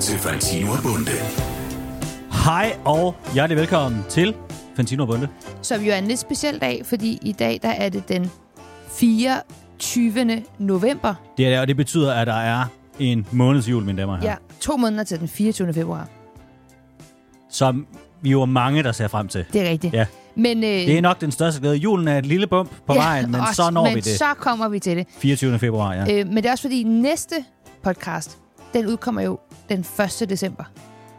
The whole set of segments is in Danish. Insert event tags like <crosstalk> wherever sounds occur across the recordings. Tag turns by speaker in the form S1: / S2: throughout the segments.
S1: Fantino og Bunde.
S2: Hej og hjertelig velkommen til Fantino og Bunde.
S3: som jo er en lidt speciel dag, fordi i dag der er det den 24. november.
S2: Det er det, og det betyder, at der er en måneds jul, mine damer og
S3: Ja.
S2: herrer.
S3: ja, to måneder til den 24. februar.
S2: Som vi jo er mange, der ser frem til.
S3: Det er rigtigt.
S2: Ja.
S3: Men, øh,
S2: Det er nok den største glæde. Julen er et lille bump på vejen, men
S3: <laughs> også,
S2: så når
S3: men
S2: vi det.
S3: så kommer vi til det.
S2: 24. februar, ja.
S3: Øh, men det er også fordi, næste podcast, den udkommer jo den 1. december.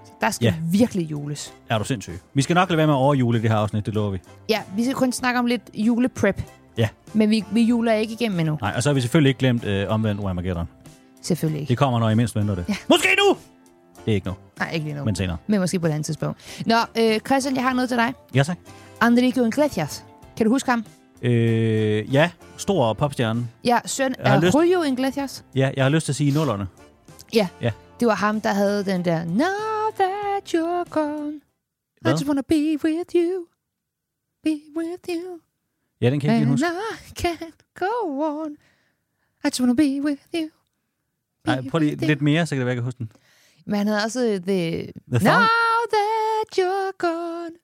S3: Så der skal
S2: Ja.
S3: ja. virkelig jules.
S2: Er du sindssyg? Vi skal nok lade være med at overjule i det her afsnit, det lover vi.
S3: Ja, vi skal kun snakke om lidt juleprep.
S2: Ja.
S3: Men vi, vi juler ikke igennem endnu.
S2: Nej, og så har vi selvfølgelig ikke glemt øh, omvendt Armageddon.
S3: Selvfølgelig ikke.
S2: Det kommer, når I mindst venter det. Ja. Måske nu! Det er ikke nu,
S3: Nej, ikke lige nu.
S2: men
S3: Men,
S2: senere.
S3: men måske på et andet tidspunkt. Nå, øh, Christian, jeg har noget til dig.
S2: Ja, tak.
S3: Enrique Iglesias. Kan du huske ham?
S2: Øh, ja, stor popstjerne.
S3: Ja, søn
S2: Jeg har
S3: af
S2: lyst-
S3: Julio Iglesias.
S2: Ja, jeg har lyst til at sige nullerne.
S3: Ja.
S2: Ja.
S3: Det var ham, der havde den der Now that you're gone, I
S2: Hvad?
S3: just wanna be with you. Be with you.
S2: Ja, den kan jeg ikke lige
S3: And
S2: huske.
S3: I can't go on. I just wanna be with you. Be
S2: Nej, prøv lige
S3: with you.
S2: lidt mere, så kan det være, jeg kan huske den.
S3: Men han havde også øh, the...
S2: The Thong?
S3: Now that you're gone,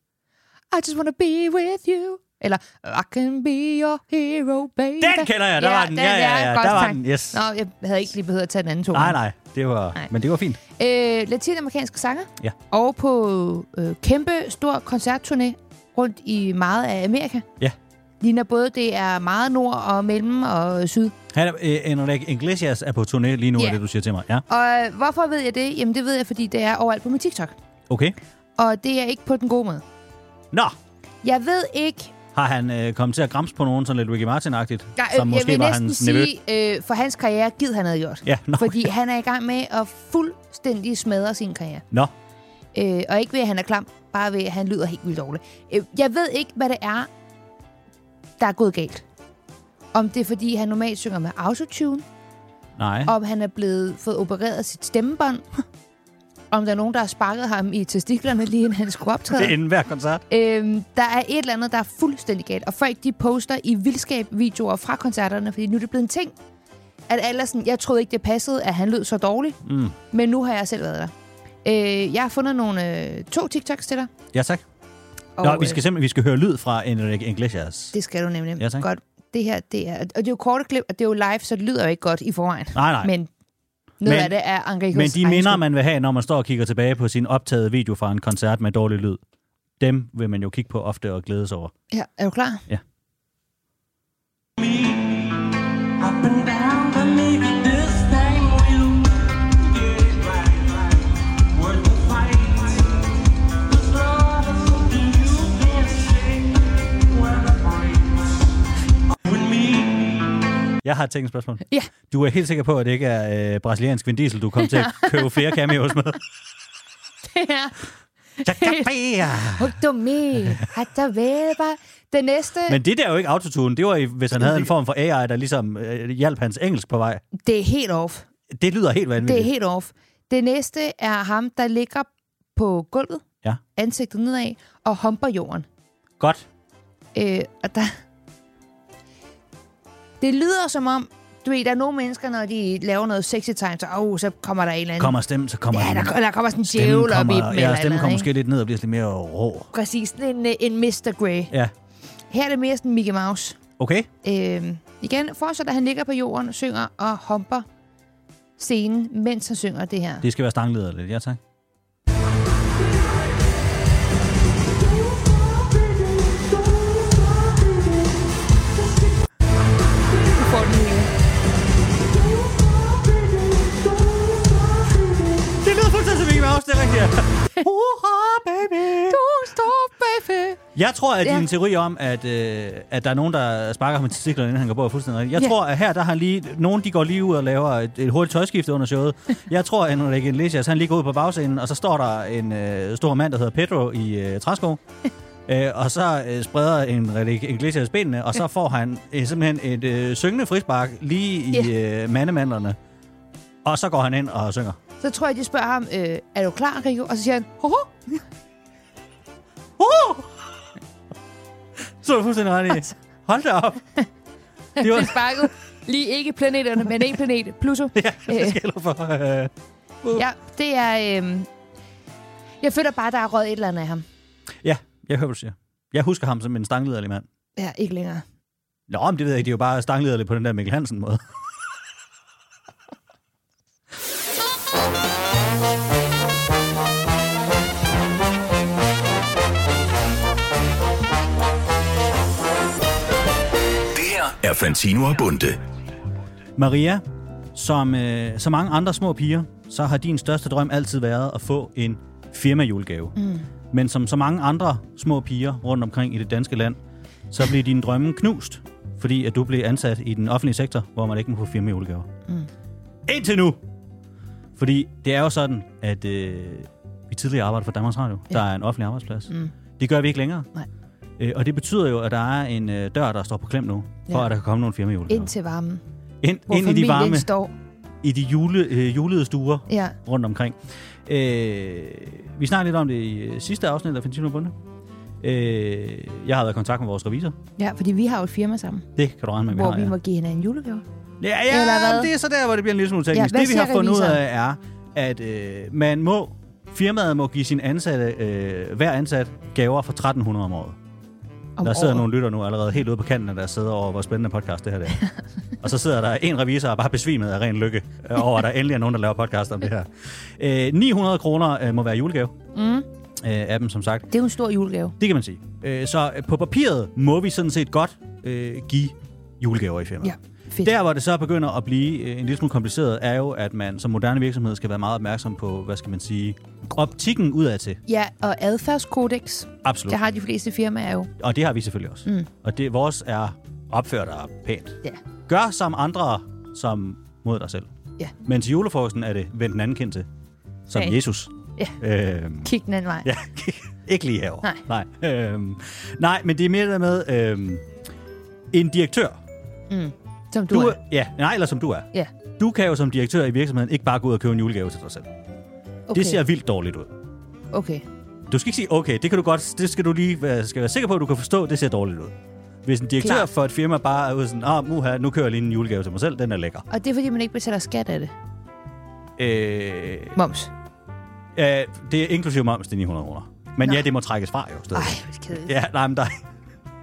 S3: I just wanna be with you. Eller, I can be your hero, baby.
S2: Den kender jeg, der
S3: ja,
S2: var den. Ja, ja, ja,
S3: godt
S2: der var
S3: tak.
S2: den, yes.
S3: Nå, jeg havde ikke lige behøvet at tage den anden to.
S2: Nej, nej, det var,
S3: Nej.
S2: men det var fint.
S3: øh, latinamerikanske sanger.
S2: Ja.
S3: Og på øh, kæmpe stor koncertturné rundt i meget af Amerika.
S2: Ja.
S3: Ligner både det er meget nord og mellem og syd.
S2: Han er, øh, Enrique Iglesias er på turné lige nu, yeah.
S3: Ja.
S2: er det, du siger til mig. Ja,
S3: Og øh, hvorfor ved jeg det? Jamen det ved jeg, fordi det er overalt på min TikTok.
S2: okay.
S3: Og det er ikke på den gode måde.
S2: Nå,
S3: Jeg ved ikke...
S2: har han øh, kommet til at gramse på nogen, sådan lidt Ricky Martin-agtigt,
S3: Nej,
S2: som
S3: øh, jeg
S2: måske
S3: vil
S2: var
S3: næsten
S2: hans nevø?
S3: sige, øh, for hans karriere, gid han havde gjort.
S2: Ja, nå,
S3: Fordi han er i gang med at fuldstændig smadre sin karriere.
S2: Nå,
S3: Øh, og ikke ved, at han er klam, bare ved, at han lyder helt vildt dårlig. Øh, jeg ved ikke, hvad det er, der er gået galt. Om det er, fordi han normalt synger med autotune,
S2: nej.
S3: om han er blevet fået opereret af sit stemmebånd, om der er nogen, der har sparket ham i testiklerne, lige inden han skulle
S2: Det er
S3: optræde.
S2: inden hver koncert.
S3: Øhm, der er et eller andet, der er fuldstændig galt. Og folk, de poster i vildskab videoer fra koncerterne, fordi nu er det blevet en ting. At alle er sådan, jeg troede ikke, det passede, at han lød så dårligt.
S2: Mm.
S3: Men nu har jeg selv været der. Øh, jeg har fundet nogle øh, to TikToks til dig.
S2: Ja, tak.
S3: Og,
S2: Nå, vi
S3: øh,
S2: skal simpelthen vi skal høre lyd fra Enrique Iglesias.
S3: Det skal du nemlig.
S2: Ja, tak.
S3: Godt. Det her, det er... Og det er jo korte klip, og det er jo live, så det lyder jo ikke godt i forvejen.
S2: Nej, nej. Men,
S3: Men noget
S2: Men-
S3: af det er Enricos
S2: men de
S3: egen
S2: minder,
S3: skyld.
S2: man vil have, når man står og kigger tilbage på sin optagede video fra en koncert med dårlig lyd, dem vil man jo kigge på ofte og glædes over.
S3: Ja, er du klar?
S4: Up and down, but maybe this time we'll get it right. Worth the fight. This love is something you can't shake. When it breaks, with me.
S2: Jeg har et tænkt spørgsmål.
S3: Ja.
S2: Du er helt sikker på, at det ikke er øh, brasiliansk Vin Diesel, du kom til
S3: <laughs>
S2: at købe flere cameos med? <laughs>
S3: Hugdomi, Hataveba. Den næste, Men...
S2: Men det der er jo ikke autotune. Det var, i- hvis han havde en form for AI, der ligesom øh, hjalp hans engelsk på vej.
S3: det er helt off.
S2: Det lyder helt vanvittigt.
S3: Det er helt off. Det næste er ham, der ligger på gulvet,
S2: Ja.
S3: ansigtet nedad, og humper jorden.
S2: Godt.
S3: Øh, og der... Det lyder som om, du ved, der er nogle mennesker, når de laver noget sexy tegn, så, oh, så kommer der en eller anden...
S2: Kommer stemmen, så kommer
S3: ja,
S2: den.
S3: der, der kommer sådan en
S2: Stemmen
S3: djævel op i dem.
S2: ja,
S3: eller
S2: stemmen
S3: andet,
S2: kommer
S3: ikke?
S2: måske lidt ned og bliver sådan lidt mere rå.
S3: Præcis, sådan en, øh, en Mr. Grey.
S2: Ja,
S3: Her er det mere sådan Mickey Mouse.
S2: okay.
S3: Øh, igen, fortsat, at han ligger på jorden, synger og humper scenen, mens han synger det her.
S2: Det skal være stangleder lidt, ja tak.
S3: Du får den hele.
S2: Det lyder fuldstændig som Mickey Mouse, det er rigtigt. <laughs> Hurra, baby!
S3: Du står baby.
S2: Jeg tror, at
S3: Ja.
S2: din teori om, at, øh, at der er nogen, der sparker ham i testiklerne, inden han går på, er fuldstændig rigtig. Jeg
S3: Ja.
S2: tror, at her, der har lige... Nogen, de går lige ud og laver et, et hurtigt tøjskifte under
S3: <laughs>
S2: showet. Jeg tror, at Enrique Iglesias, han lige går ud på bagscenen, og så står der en øh, stor mand, der hedder Pedro i øh,
S3: <laughs>
S2: træsko. Øh, og så øh, spreder Enrique Iglesias benene, og så får han øh, simpelthen et øh, syngende frispark lige i øh, mandemandlerne. Og så går han ind og synger.
S3: Så tror jeg, de spørger ham, øh, er du klar, Rico? Og så siger han, hoho.
S2: Uh! Så er du fuldstændig
S3: Altså.
S2: ret i. Hold da
S3: <laughs>
S2: op. Det
S3: Det
S2: var <laughs>
S3: sparket lige ikke planeterne, men en planet, Pluto.
S2: Ja, det <laughs>
S3: Øh.
S2: gælder for... Øh,
S3: Ja, det er... Øh, jeg føler bare, der er røget et eller andet af ham.
S2: Ja, jeg hører, hvad du siger. Jeg husker ham som en stanglederlig mand.
S3: Ja, ikke længere.
S2: Nå, men det ved jeg ikke. Det er jo bare stanglederlig på den der Mikkel Hansen-måde.
S1: Det her er Fantino og Bunde.
S2: Maria, som øh, så mange andre små piger, så har din største drøm altid været at få en firmajulegave. Mm. Men som så mange andre små piger rundt omkring i det danske land, så blev dine drømme knust, fordi at du blev ansat i den offentlige sektor, hvor man ikke må få firmajulegaver. Mm. Indtil nu! Fordi det er jo sådan, at øh, vi tidligere arbejdede for Danmarks Radio. Ja. Der er en offentlig arbejdsplads. Mm. Det gør vi ikke længere.
S3: Nej.
S2: Øh, og det betyder jo, at der er en øh, dør, der står på klem nu, for
S3: Ja.
S2: at der kan komme nogle firmajulegaver.
S3: Ind til varmen,
S2: Ind,
S3: hvor
S2: ind i de
S3: familien
S2: varme,
S3: står.
S2: i de jule, øh, julede stuer
S3: Ja.
S2: rundt omkring. Øh, vi snakkede lidt om det i øh, sidste afsnit af Fantino Bunde. Øh, jeg har været i kontakt med vores revisor.
S3: Ja, fordi vi har jo et firma sammen,
S2: Det kan du regne med, vi
S3: hvor
S2: har.
S3: vi
S2: ja.
S3: må give hinanden en julegave.
S2: Ja, ja
S3: Eller hvad?
S2: men det er så der, hvor det bliver en lille smule teknisk.
S3: Ja,
S2: Ja,
S3: hvad
S2: det vi har
S3: siger
S2: fundet ud
S3: revisoren?
S2: af er, at øh, man må, firmaet må give sin ansatte, øh, hver ansat, gaver for 1300 om året.
S3: Om
S2: der sidder
S3: året.
S2: nogle lytter nu allerede helt ude på kanten, af der sidder over, hvor spændende podcast det her
S3: <laughs>
S2: er. og så sidder der en revisor og er bare besvimet af ren lykke øh, over, at der endelig er nogen, der laver podcast om det her. Øh, 900 kroner øh, må være julegave
S3: Mm.
S2: øh, af dem, som sagt.
S3: Det er jo en stor julegave.
S2: Det kan man sige. Øh, så øh, på papiret må vi sådan set godt øh, give julegaver i firmaet.
S3: Ja, fedt.
S2: Der, hvor det så begynder at blive øh, en lille smule kompliceret, er jo, at man som moderne virksomhed skal være meget opmærksom på, hvad skal man sige, optikken udadtil.
S3: Ja, og adfærdskodex.
S2: Absolut.
S3: Det har de fleste firmaer jo.
S2: Og det har vi selvfølgelig også. Mm. Og det vores er opført og pænt.
S3: Ja.
S2: Gør som andre, som mod dig selv.
S3: Ja.
S2: Men til julefrokosten er det vend den anden kind til, som
S3: Ja.
S2: Jesus. Ja. Øhm, <laughs>
S3: Kig den anden vej.
S2: ja, ikke lige herovre.
S3: Nej.
S2: Nej, øhm, nej men det er mere det der med øhm, en direktør.
S3: Som du,
S2: Du,
S3: du
S2: er- ja, nej, eller som du er.
S3: Ja,
S2: Du kan jo som direktør i virksomheden ikke bare gå ud og købe en julegave til dig selv. Okay.
S3: okay.
S2: Det ser vildt dårligt ud.
S3: Okay.
S2: Du skal ikke sige, okay, det kan du godt, det skal du lige være, skal være sikker på, at du kan forstå, det ser dårligt ud. Hvis en direktør Klar.
S3: Klart.
S2: for et firma bare er ude sådan, ah, muha, nu kører jeg lige en julegave til mig selv, den er lækker.
S3: Og det er, fordi man ikke betaler skat af det.
S2: Øh,
S3: Moms.
S2: øh, det er inklusive moms, det er 900 kroner. Men
S3: Nå.
S2: ja, det må trækkes fra jo stadig.
S3: Ej, hvor er det kedeligt.
S2: Ja, nej, men der,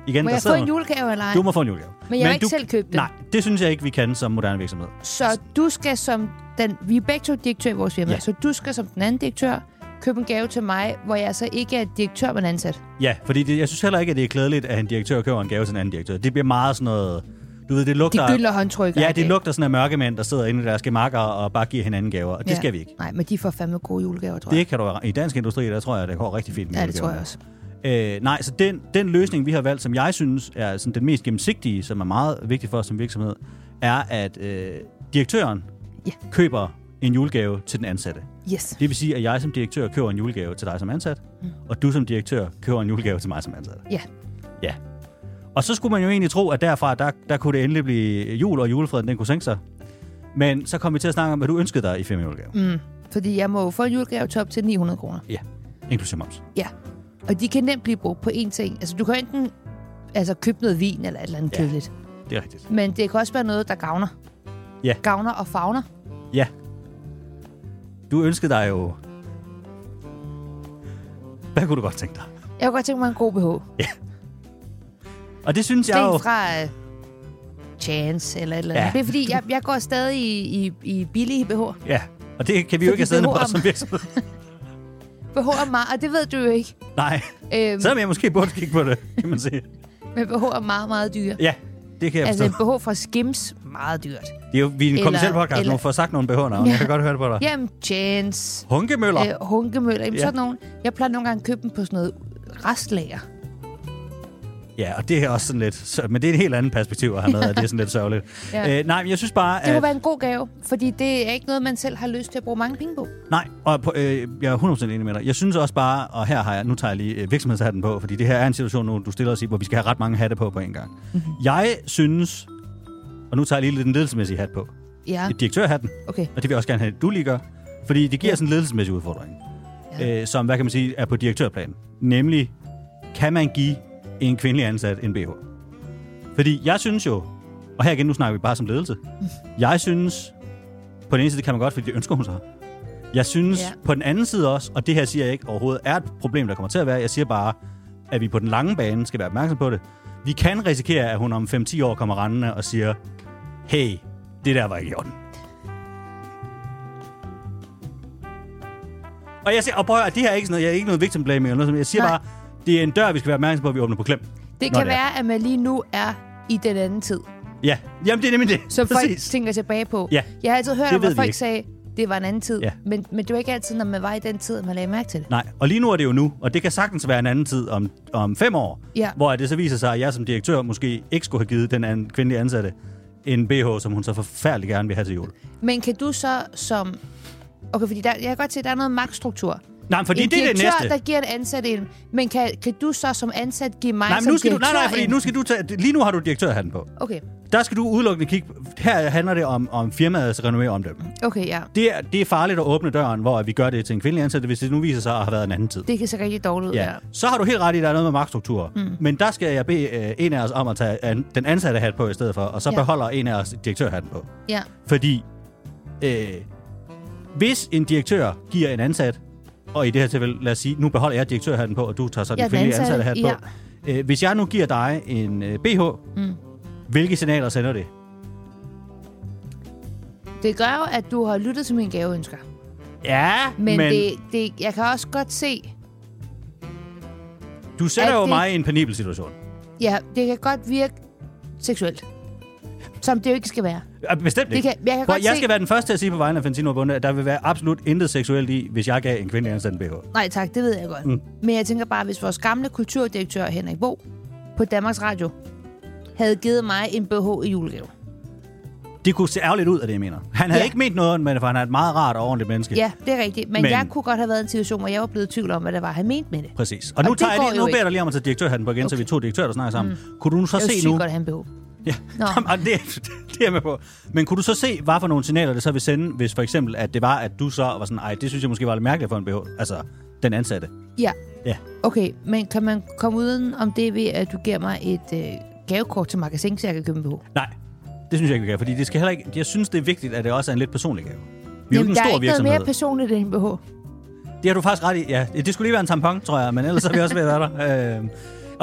S2: igen,
S3: Må
S2: der
S3: jeg få
S2: sidder nogen.
S3: en julegave eller ej?
S2: Du må få en julegave.
S3: Men jeg har ikke selv købt den.
S2: Nej, det synes jeg ikke, vi kan som moderne virksomhed.
S3: Så du skal som den... Vi er begge to direktør i vores firma.
S2: Ja.
S3: Ja. Så du skal som den anden direktør købe en gave til mig, hvor jeg så ikke er direktør, men ansat.
S2: Ja, fordi det, jeg synes heller ikke, at det er klædeligt, at en direktør køber en gave til en anden direktør. Det bliver meget sådan noget... Du ved, det
S3: De
S2: lugter...
S3: gylder håndtryk.
S2: Ja, det lugter sådan af mørkemænd, der sidder inde i deres gemakker og bare giver hinanden gaver. Og det ja. skal vi ikke.
S3: Nej, men de får fandme gode julegaver, tror jeg.
S2: Det kan du I dansk industri, der tror jeg, det går rigtig fint. med
S3: ja, det
S2: julegaver.
S3: tror jeg også.
S2: Øh, nej, så den, den løsning, vi har valgt, som jeg synes er sådan den mest gennemsigtige, som er meget vigtig for os som virksomhed, er, at øh, direktøren
S3: Ja.
S2: køber en julegave til den ansatte.
S3: Yes.
S2: Det vil sige, at jeg som direktør køber en julegave til dig som ansat, mm. og du som direktør køber en julegave til mig som ansat.
S3: Ja.
S2: Ja. Og så skulle man jo egentlig tro, at derfra, der, der kunne det endelig blive jul, og julefreden, den kunne sænke sig. Men så kom vi til at snakke om, hvad du ønskede dig i fem julegave. Mm.
S3: Fordi jeg må jo få en julegave til op til 900 kroner.
S2: Ja, inklusive moms.
S3: Ja. Og de kan nemt blive brugt på én ting. Altså, du kan enten altså, købe noget vin eller et eller andet
S2: Ja.
S3: ja. kedeligt.
S2: Det er rigtigt.
S3: Men det kan også være noget, der gavner.
S2: Ja.
S3: Gavner og fagner.
S2: Ja. Du ønskede dig jo... Hvad kunne du godt tænke dig?
S3: Jeg kunne godt tænke mig en god BH.
S2: Og det synes jeg jo...
S3: sten fra uh, Chance eller et eller andet.
S2: Ja.
S3: Ja. Det er fordi, jeg, jeg går stadig i, i, i billige BH.
S2: Ja, og det kan vi jo ikke
S3: Fordi
S2: have siddende på
S3: behover-
S2: os som
S3: <laughs>
S2: virksomhed.
S3: BH er meget, og det ved du jo ikke.
S2: Nej,
S3: Øhm,
S2: selvom jeg måske burde kigge på det, kan man sige.
S3: men BH er meget, meget dyre.
S2: Ja, det kan jeg
S3: Altså
S2: forstå.
S3: en BH fra Skims, meget dyrt.
S2: Det er jo, vi er en
S3: Eller-
S2: kommersiel podcast,
S3: eller-
S2: hvor man får sagt nogle behånder, og
S3: Ja.
S2: jeg kan godt høre det på dig.
S3: Jamen, Chance,
S2: Hunkemøller.
S3: øh, Hunkemøller, jamen
S2: Ja.
S3: ja. sådan nogen. Jeg plejer nogle gange at købe dem på sådan noget restlager.
S2: Ja, og det er også sådan lidt... så- Men det er et helt andet perspektiv at have med, og det er sådan lidt sørgeligt.
S3: Ja.
S2: Øh, nej, men jeg synes bare,
S3: Det
S2: at...
S3: kunne være en god gave, fordi det er ikke noget, man selv har lyst til at bruge mange penge på.
S2: Nej, og på, øh, jeg er 100% enig med dig. Jeg synes også bare, og her har jeg, nu tager jeg lige øh, virksomhedshatten på, fordi det her er en situation nu, du stiller os i, hvor vi skal have ret mange hatte på på en gang. Mm-hmm. Jeg synes, og nu tager jeg lige lidt den ledelsesmæssige hat på,
S3: Ja,
S2: ja. direktørhatten,
S3: okay.
S2: og det vil jeg også gerne have, at du lige gør, fordi det giver sådan en ledelsesmæssig udfordring, ja.
S3: Ja.
S2: øh, som, hvad kan man sige, er på direktørplan. Nemlig, kan man give en kvindelig ansat en BH? Fordi jeg synes jo, og her igen, nu snakker vi bare som ledelse, jeg synes, på den ene side, det kan man godt, fordi det ønsker hun sig. Jeg synes
S3: Ja.
S2: ja. på den anden side også, og det her siger jeg ikke overhovedet, er et problem, der kommer til at være. Jeg siger bare, at vi på den lange bane skal være opmærksom på det. Vi kan risikere, at hun om 5-10 år kommer rendende og siger, hey, det der var ikke i orden. Og jeg siger, og prøv at høre, det her er ikke sådan noget, jeg er ikke noget victim blaming eller noget, som- jeg siger
S3: Nej.
S2: Nej. bare, det er en dør, vi skal være opmærksom på, at vi åbner på klem.
S3: Det
S2: Nå,
S3: kan
S2: det er.
S3: være, at man lige nu er i den anden tid,
S2: Ja, jamen det er nemlig det.
S3: som folk
S2: Præcis.
S3: tænker tilbage på.
S2: Ja.
S3: Jeg har altid hørt
S2: Det
S3: om,
S2: ved
S3: at
S2: vi
S3: folk
S2: ikke.
S3: sagde, det var en anden tid.
S2: Ja.
S3: Men, men det var ikke altid, når man var i den tid, at man lagde mærke til det.
S2: Nej, og lige nu er det jo nu, og det kan sagtens være en anden tid om, om fem år,
S3: Ja.
S2: hvor det så viser sig, at jeg som direktør måske ikke skulle have givet den anden kvindelige ansatte en BH, som hun så forfærdelig gerne vil have til jul.
S3: Men kan du så som... Okay, fordi der, jeg kan godt se, at der er noget magtstruktur.
S2: Nej, men fordi
S3: en
S2: det er det
S3: direktør,
S2: næste.
S3: der giver en ansat en. Men kan, kan du så som ansat give mig
S2: Nej, men
S3: som
S2: nu skal du, nej,
S3: direktør
S2: nej, fordi
S3: en?
S2: nu skal du tage, lige nu har du direktørhatten på.
S3: Okay,
S2: Der skal du udelukkende kigge, her handler det om, om firmaets renommé om dem.
S3: okay, ja.
S2: Det er, det er farligt at åbne døren, hvor vi gør det til en kvindelig ansat, hvis det nu viser sig at have været en anden tid.
S3: Det kan se rigtig dårligt ud, ja.
S2: Ja. Så har du helt ret i, at der er noget med magtstrukturer. Mm. Men der skal jeg bede øh, en af os om at tage an, den ansatte hat på i stedet for, og så
S3: Ja.
S2: ja. beholder en af os direktørhatten på.
S3: ja.
S2: Fordi øh, hvis en direktør giver en ansat, og i det her tilfælde, lad os sige, nu beholder jeg direktørhatten på, og du tager så
S3: Ja,
S2: den
S3: den
S2: kvindelige
S3: ansatte,
S2: ansatte hat på. Øh, hvis jeg nu giver dig en øh, BH, mm. hvilke signaler sender det?
S3: Det gør jo, at du har lyttet til mine gaveønsker.
S2: Ja,
S3: Men,
S2: men,
S3: men... Det, det, jeg kan også godt se...
S2: du sætter
S3: at
S2: jo
S3: det-
S2: mig i en penibel situation.
S3: Ja, det kan godt virke seksuelt. Som det jo ikke skal være.
S2: Ja, Bestemt
S3: Det
S2: ikke.
S3: kan- jeg kan
S2: Prøv,
S3: godt
S2: jeg
S3: se-
S2: skal være den første til at sige på vegne af Fantino Bunde, at der vil være absolut intet seksuelt i, hvis jeg gav en kvindelig ansat en BH.
S3: Nej tak, det ved jeg godt. Mm. Men jeg tænker bare, hvis vores gamle kulturdirektør Henrik Bo på Danmarks Radio havde givet mig en BH i julegave.
S2: Det kunne se ærgerligt ud af det, jeg mener. Han havde
S3: Ja.
S2: ja. ikke ment noget ondt med det, for han er et meget rart og ordentligt menneske.
S3: Ja, det er rigtigt. Men, men
S2: Men-
S3: jeg kunne godt have været i en situation, hvor jeg var blevet i tvivl om, hvad det var, han mente med det.
S2: Præcis. Og nu,
S3: det
S2: tager jeg
S3: går
S2: lige,
S3: jo
S2: nu beder
S3: ikke.
S2: jeg dig lige om at tage direktørhatten på igen, okay. så
S3: Okay.
S2: vi er to direktører, der snakker sammen. Mm. Kunne du så
S3: Jeg er jo
S2: se
S3: sygt
S2: nu...
S3: godt at have en BH.
S2: Ja.
S3: Nå.
S2: Jamen, det, det er <laughs> jeg med på. Men kunne du så se, hvad for nogle signaler det så vil sende, hvis for eksempel, at det var, at du så var sådan, ej, det synes jeg måske var lidt mærkeligt for en BH. Altså, den ansatte.
S3: Ja,
S2: Ja.
S3: okay. Men kan man komme uden om det ved, at du giver mig et øh, gavekort til magasin, så jeg kan købe en BH?
S2: Nej, det synes jeg ikke, vi kan, fordi det skal heller ikke... Jeg synes, det er vigtigt, at det også er en lidt personlig gave. Vi er jo
S3: Jamen,
S2: ikke en
S3: der
S2: stor
S3: er ikke noget
S2: virksomhed.
S3: mere personligt end en BH.
S2: det har du faktisk ret i. Ja, det skulle lige være en tampon, tror jeg, men ellers så er vi også ved at være
S3: <laughs>
S2: der. Øhm, og
S3: Men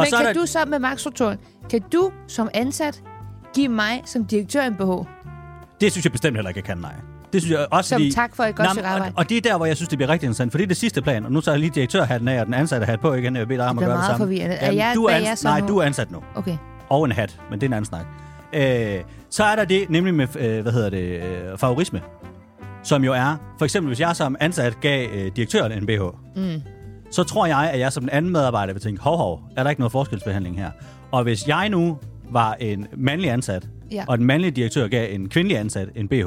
S2: så er
S3: kan
S2: der...
S3: du så med magtstrukturen, kan du som ansat give mig som direktør en BH?
S2: Det synes jeg bestemt heller ikke, jeg kan, nej. Det synes jeg også,
S3: Som
S2: fordi...
S3: tak for et godt
S2: Nå, men-
S3: stykke arbejde.
S2: Og, og det er der, hvor jeg synes, det bliver rigtig interessant, for det er det sidste plan. Og nu tager jeg lige direktørhatten af, og den ansatte hat på igen, og jeg beder dig om
S3: Det
S2: at
S3: bliver
S2: gøre det
S3: meget
S2: samme.
S3: forvirrende. Er
S2: Jamen,
S3: jeg-
S2: du er
S3: hvad er
S2: ans-
S3: jeg så
S2: nej,
S3: nu?
S2: du er ansat nu.
S3: Okay.
S2: Og en hat, men det er en anden snak. Øh, så er der det nemlig med, øh, hvad hedder det, øh, favorisme, som jo er, for eksempel hvis jeg som ansat gav øh, direktøren en BH, mm. så tror jeg, at jeg som den anden medarbejder vil tænke, hov, hov, er der ikke noget forskelsbehandling her? Og hvis jeg nu var en mandlig ansat,
S3: Ja.
S2: og den mandlige direktør gav en kvindelig ansat en BH,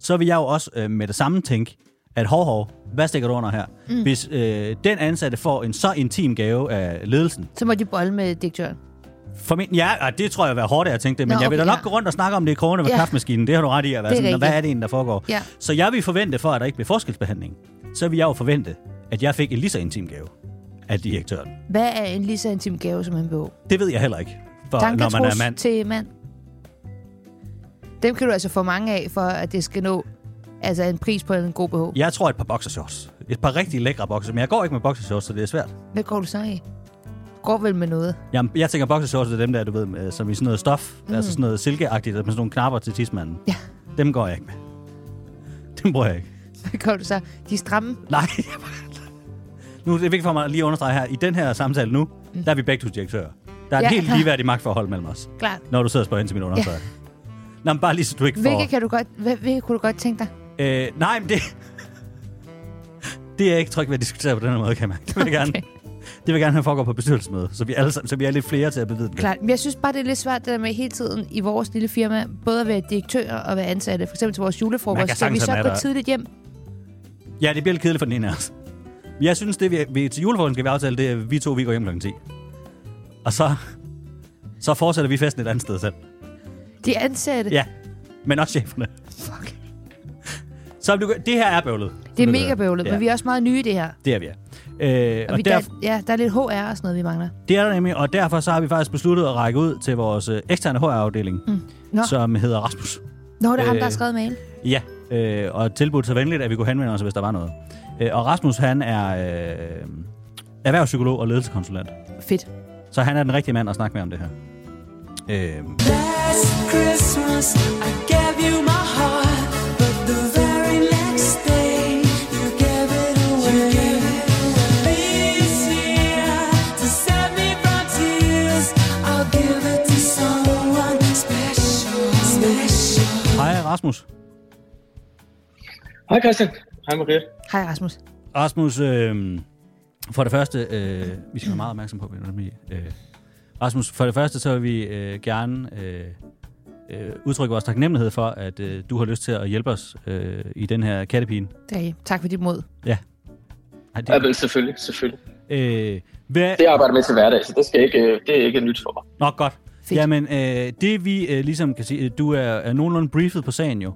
S2: så vil jeg jo også øh, med det samme tænke, at hov, hov, hvad stikker du under her? Mm. Hvis øh, den ansatte får en så intim gave af ledelsen,
S3: Så må de bolle med direktøren.
S2: Formentlig, ja, og det tror jeg vil være hårdt af at tænke det, men
S3: Nå,
S2: Nå, jeg vil da
S3: okay,
S2: nok
S3: ja.
S2: gå rundt og snakke om det i krogene ved
S3: Ja.
S2: ja. kaffemaskinen. Det har du ret i at være
S3: Det er
S2: sådan, "Nå, hvad
S3: rigtigt.
S2: er det egentlig, der foregår?
S3: Ja.
S2: Så jeg vil forvente, for at der ikke bliver forskelsbehandling, så vil jeg jo forvente, at jeg fik en lige så intim gave af direktøren.
S3: Hvad er en lige så intim gave som en BH?
S2: Det ved jeg heller ikke, for, når man er
S3: Tanketrus
S2: mand.
S3: til mand. Dem kan du altså få mange af, for at det skal nå altså en pris på en god BH. Ja.
S2: Jeg tror et par boxershorts. Et par rigtig lækre boxer, men jeg går ikke med boxershorts, så det er svært.
S3: Hvad går du så i? Går vel med noget? <laughs>
S2: Jeg, jeg tænker boxershorts er dem der, du ved, med- som i sådan noget stof, mm. altså sådan noget silkeagtigt, med sådan nogle knapper til tidsmanden.
S3: Ja.
S2: Dem går jeg ikke med. Dem bruger jeg ikke.
S3: Hvad går du så? De er stramme.
S2: Nej. <laughs> nu er det vigtigt for mig lige at understrege her. I den her samtale nu, der er vi begge to direktører. Der er
S3: Mm. Ja.
S2: ja. et helt ligeværdigt magtforhold mellem os,
S3: Klart.
S2: når du sidder og spørger ind til min undersøgelse. Ja. Nå, men bare lige så du ikke
S3: Hvilke, kan du godt, hvad, hvilke kunne du godt tænke dig?
S2: får... Øh, nej, men det... det er jeg ikke tryg ved at diskutere på den her måde, kan jeg mærke. Det vil jeg gerne,
S3: Okay.
S2: det vil jeg gerne have foregår på bestyrelsesmøde, så vi, alle, sammen- så vi er lidt flere til at bevidne det.
S3: Klart. Men jeg synes bare, det er lidt svært det der med hele tiden i vores lille firma, både at være direktør og være ansatte. For eksempel til vores
S2: Man
S3: julefrokost.
S2: kan
S3: Skal vi
S2: sagtens
S3: så
S2: have
S3: gå
S2: mad der.
S3: tidligt hjem?
S2: Ja, det bliver lidt kedeligt for den ene af os. Men Jeg synes, det vi, vi til julefrokosten skal vi aftale, det er, at vi to vi går hjem kl. 10. Og så, så fortsætter vi festen et andet sted selv.
S3: De ansatte.
S2: Ja, men også cheferne.
S3: Fuck.
S2: Så du, det her er bøvlet.
S3: Det er mega bøvlet, ja.
S2: ja,
S3: men vi er også meget nye i det her.
S2: Det er vi, ja. Øh,
S3: Og,
S2: og,
S3: og vi,
S2: og der,
S3: der, ja, der er lidt HR og sådan noget, vi mangler.
S2: det er der nemlig, og derfor så har vi faktisk besluttet at række ud til vores øh, eksterne HR-afdeling, mm.
S3: Nå, så,
S2: som hedder Rasmus.
S3: Nå det er ham, der har
S2: øh,
S3: skrevet mail.
S2: Ja, øh, og tilbudt så venligt, at vi kunne henvende os, hvis der var noget. Øh, og Rasmus, han er øh, erhvervspsykolog og ledelseskonsulent.
S3: Fedt.
S2: Så han er den rigtige mand at snakke med om det her. Øh,
S5: Last Christmas, I gave you my heart, but the very next day, you gave it away. This year, to save me from tears, I'll give it to someone special, special.
S2: hej Rasmus.
S6: Hej Christian. Hej Maria.
S3: Hej, Rasmus.
S2: Rasmus, øh, for det første, øh, vi skal være meget opmærksom på, hvordan vi... Øh, Rasmus, for det første, så vil vi øh, gerne øh, øh, udtrykke vores taknemmelighed for, at øh, du har lyst til at hjælpe os øh, i den her kattepine.
S3: Dage. Tak for dit mod.
S2: Ej,
S6: Ja,
S2: det,
S6: vel, selvfølgelig, selvfølgelig.
S2: øh, hvad,
S6: Det jeg arbejder med til hverdag, så det, skal ikke, øh, det er ikke nyt for mig.
S2: Nå, godt.
S3: Fedt.
S2: Jamen, øh, det vi øh, ligesom kan sige, øh, du er, er nogenlunde briefet på sagen jo.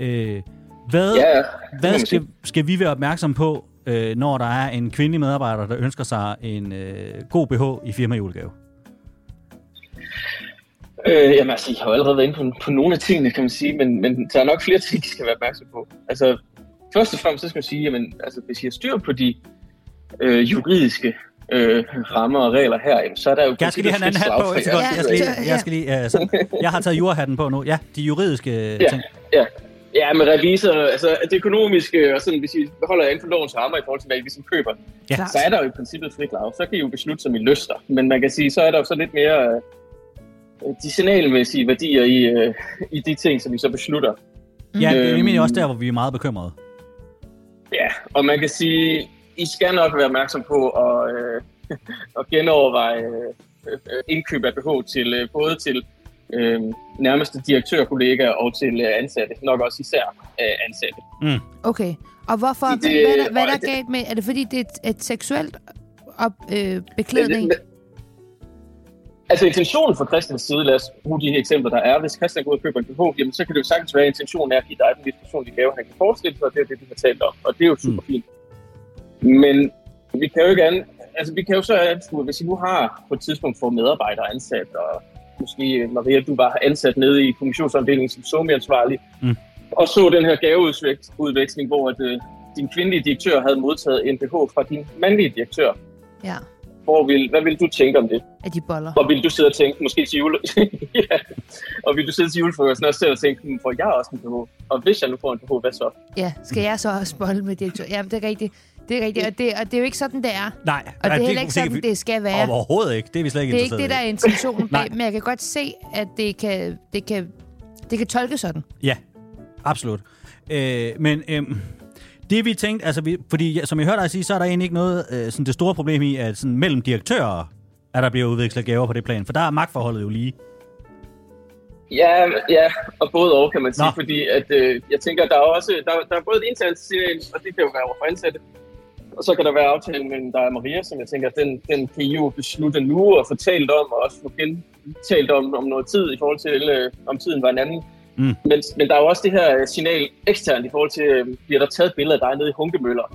S2: Øh, hvad
S6: Ja, ja. Det må
S2: hvad
S6: man
S2: skal,
S6: sige.
S2: skal vi være opmærksom på, øh, når der er en kvindelig medarbejder, der ønsker sig en øh, god BH i firmajulegave?
S6: Øh, jamen altså, I har jo allerede været inde på, på nogle af tingene, kan man sige, men, men der er nok flere ting, I skal være opmærksom på. Altså, først og fremmest, så skal man sige, jamen, altså, hvis I har styr på de øh, juridiske øh, rammer og regler her, jamen, så er der jo...
S2: Jeg skal lige have en anden hat på. Et sekund.
S3: Ja,
S2: Jeg skal lige,
S3: ja.
S2: jeg, skal lige, øh, sådan. jeg har taget jordhatten på nu. Ja, de juridiske ja.
S6: Ja.
S2: ting.
S6: Ja, med revisor, altså det økonomiske, og sådan, hvis I holder jer inden for lovens rammer i forhold til, hvad I ligesom køber,
S2: Ja.
S3: Klart.
S6: så er der jo i princippet frit lav. Så kan I jo beslutte, som I lyster. Men man kan sige, så er der jo så lidt mere øh, de signalmæssige værdier i, øh, i de ting, som I så beslutter.
S2: Ja, det er
S6: Øhm.
S2: nemlig også der, hvor vi er meget bekymrede.
S6: Ja, og man kan sige, I skal nok være opmærksom på at, øh, <laughs> at genoverveje øh, øh, indkøb af BH til øh, både til øh, nærmeste direktørkollegaer og til øh, ansatte. Nok også især øh, ansatte.
S3: Okay. Og hvorfor?
S6: Det-
S3: Det, hvad, er der- hvad er der
S6: og det-
S3: galt med? Er det fordi, det er et, et seksuelt op, øh, beklædning?
S6: Men- men- <laughs> Altså intentionen fra Christians side, lad os bruge de her eksempler, der er. Hvis Christian går ud og køber en BH, jamen, så kan det jo sagtens være, at intentionen er at give dig den lidt personlige gave, han kan forestille sig, og det er det, vi har talt om. Og det er jo super fint. Men vi kan jo ikke an... Altså, vi kan jo så anskue, hvis I nu har på et tidspunkt fået medarbejdere ansat, og måske, øh, Maria, du var ansat nede i kommunikationsafdelingen som somiansvarlig,
S2: Mm.
S6: og så den her gaveudveksling, hvor at, øh, din kvindelige direktør havde modtaget en BH fra din mandlige direktør.
S3: Ja.
S6: Hvor vil, hvad vil du tænke om det?
S3: At de boller.
S6: Og vil du sidde og tænke, måske til jule... <laughs> ja. Og vil du sidde til julefrokosten og sidde og tænke, "Hmm, får jeg også en BH? Og hvis jeg nu får en BH, hvad så?
S3: Ja, skal jeg så også bolle med direktør? Jamen, det er rigtigt. Det er rigtigt, og det, og det er jo ikke sådan, det er.
S2: Nej.
S3: Og det er heller ikke sådan, det skal være.
S2: Overhovedet ikke. Det er vi slet ikke
S3: Det er ikke det, der
S2: interesseret
S3: er intentionen
S2: Nej.
S3: bag, men jeg kan godt se, at det kan, det kan, det kan tolkes sådan.
S2: i. Ja, absolut. Øh, men øh, det vi tænkte, altså, vi, fordi ja, som jeg hørte dig sige, så er der egentlig ikke noget øh, sådan det store problem i, at sådan, mellem direktører, at der bliver udvekslet gaver på det plan, for der er magtforholdet jo lige.
S6: Ja, ja, og både og, kan man sige,
S2: Nå.
S6: Nå. fordi at, øh, jeg tænker, der er også der, der er både et internt signal, og det kan jo være over for ansatte, og så kan der være aftalen mellem dig og Maria, som jeg tænker, den, den kan I jo beslutte nu og fortalt om, og også få gentalt om, om noget tid i forhold til, øh, om tiden var en anden.
S2: Mm.
S6: Mm. Men, men der er jo også det her øh, signal eksternt i forhold til, øh, bliver der taget billeder af dig nede i Hunkemøller,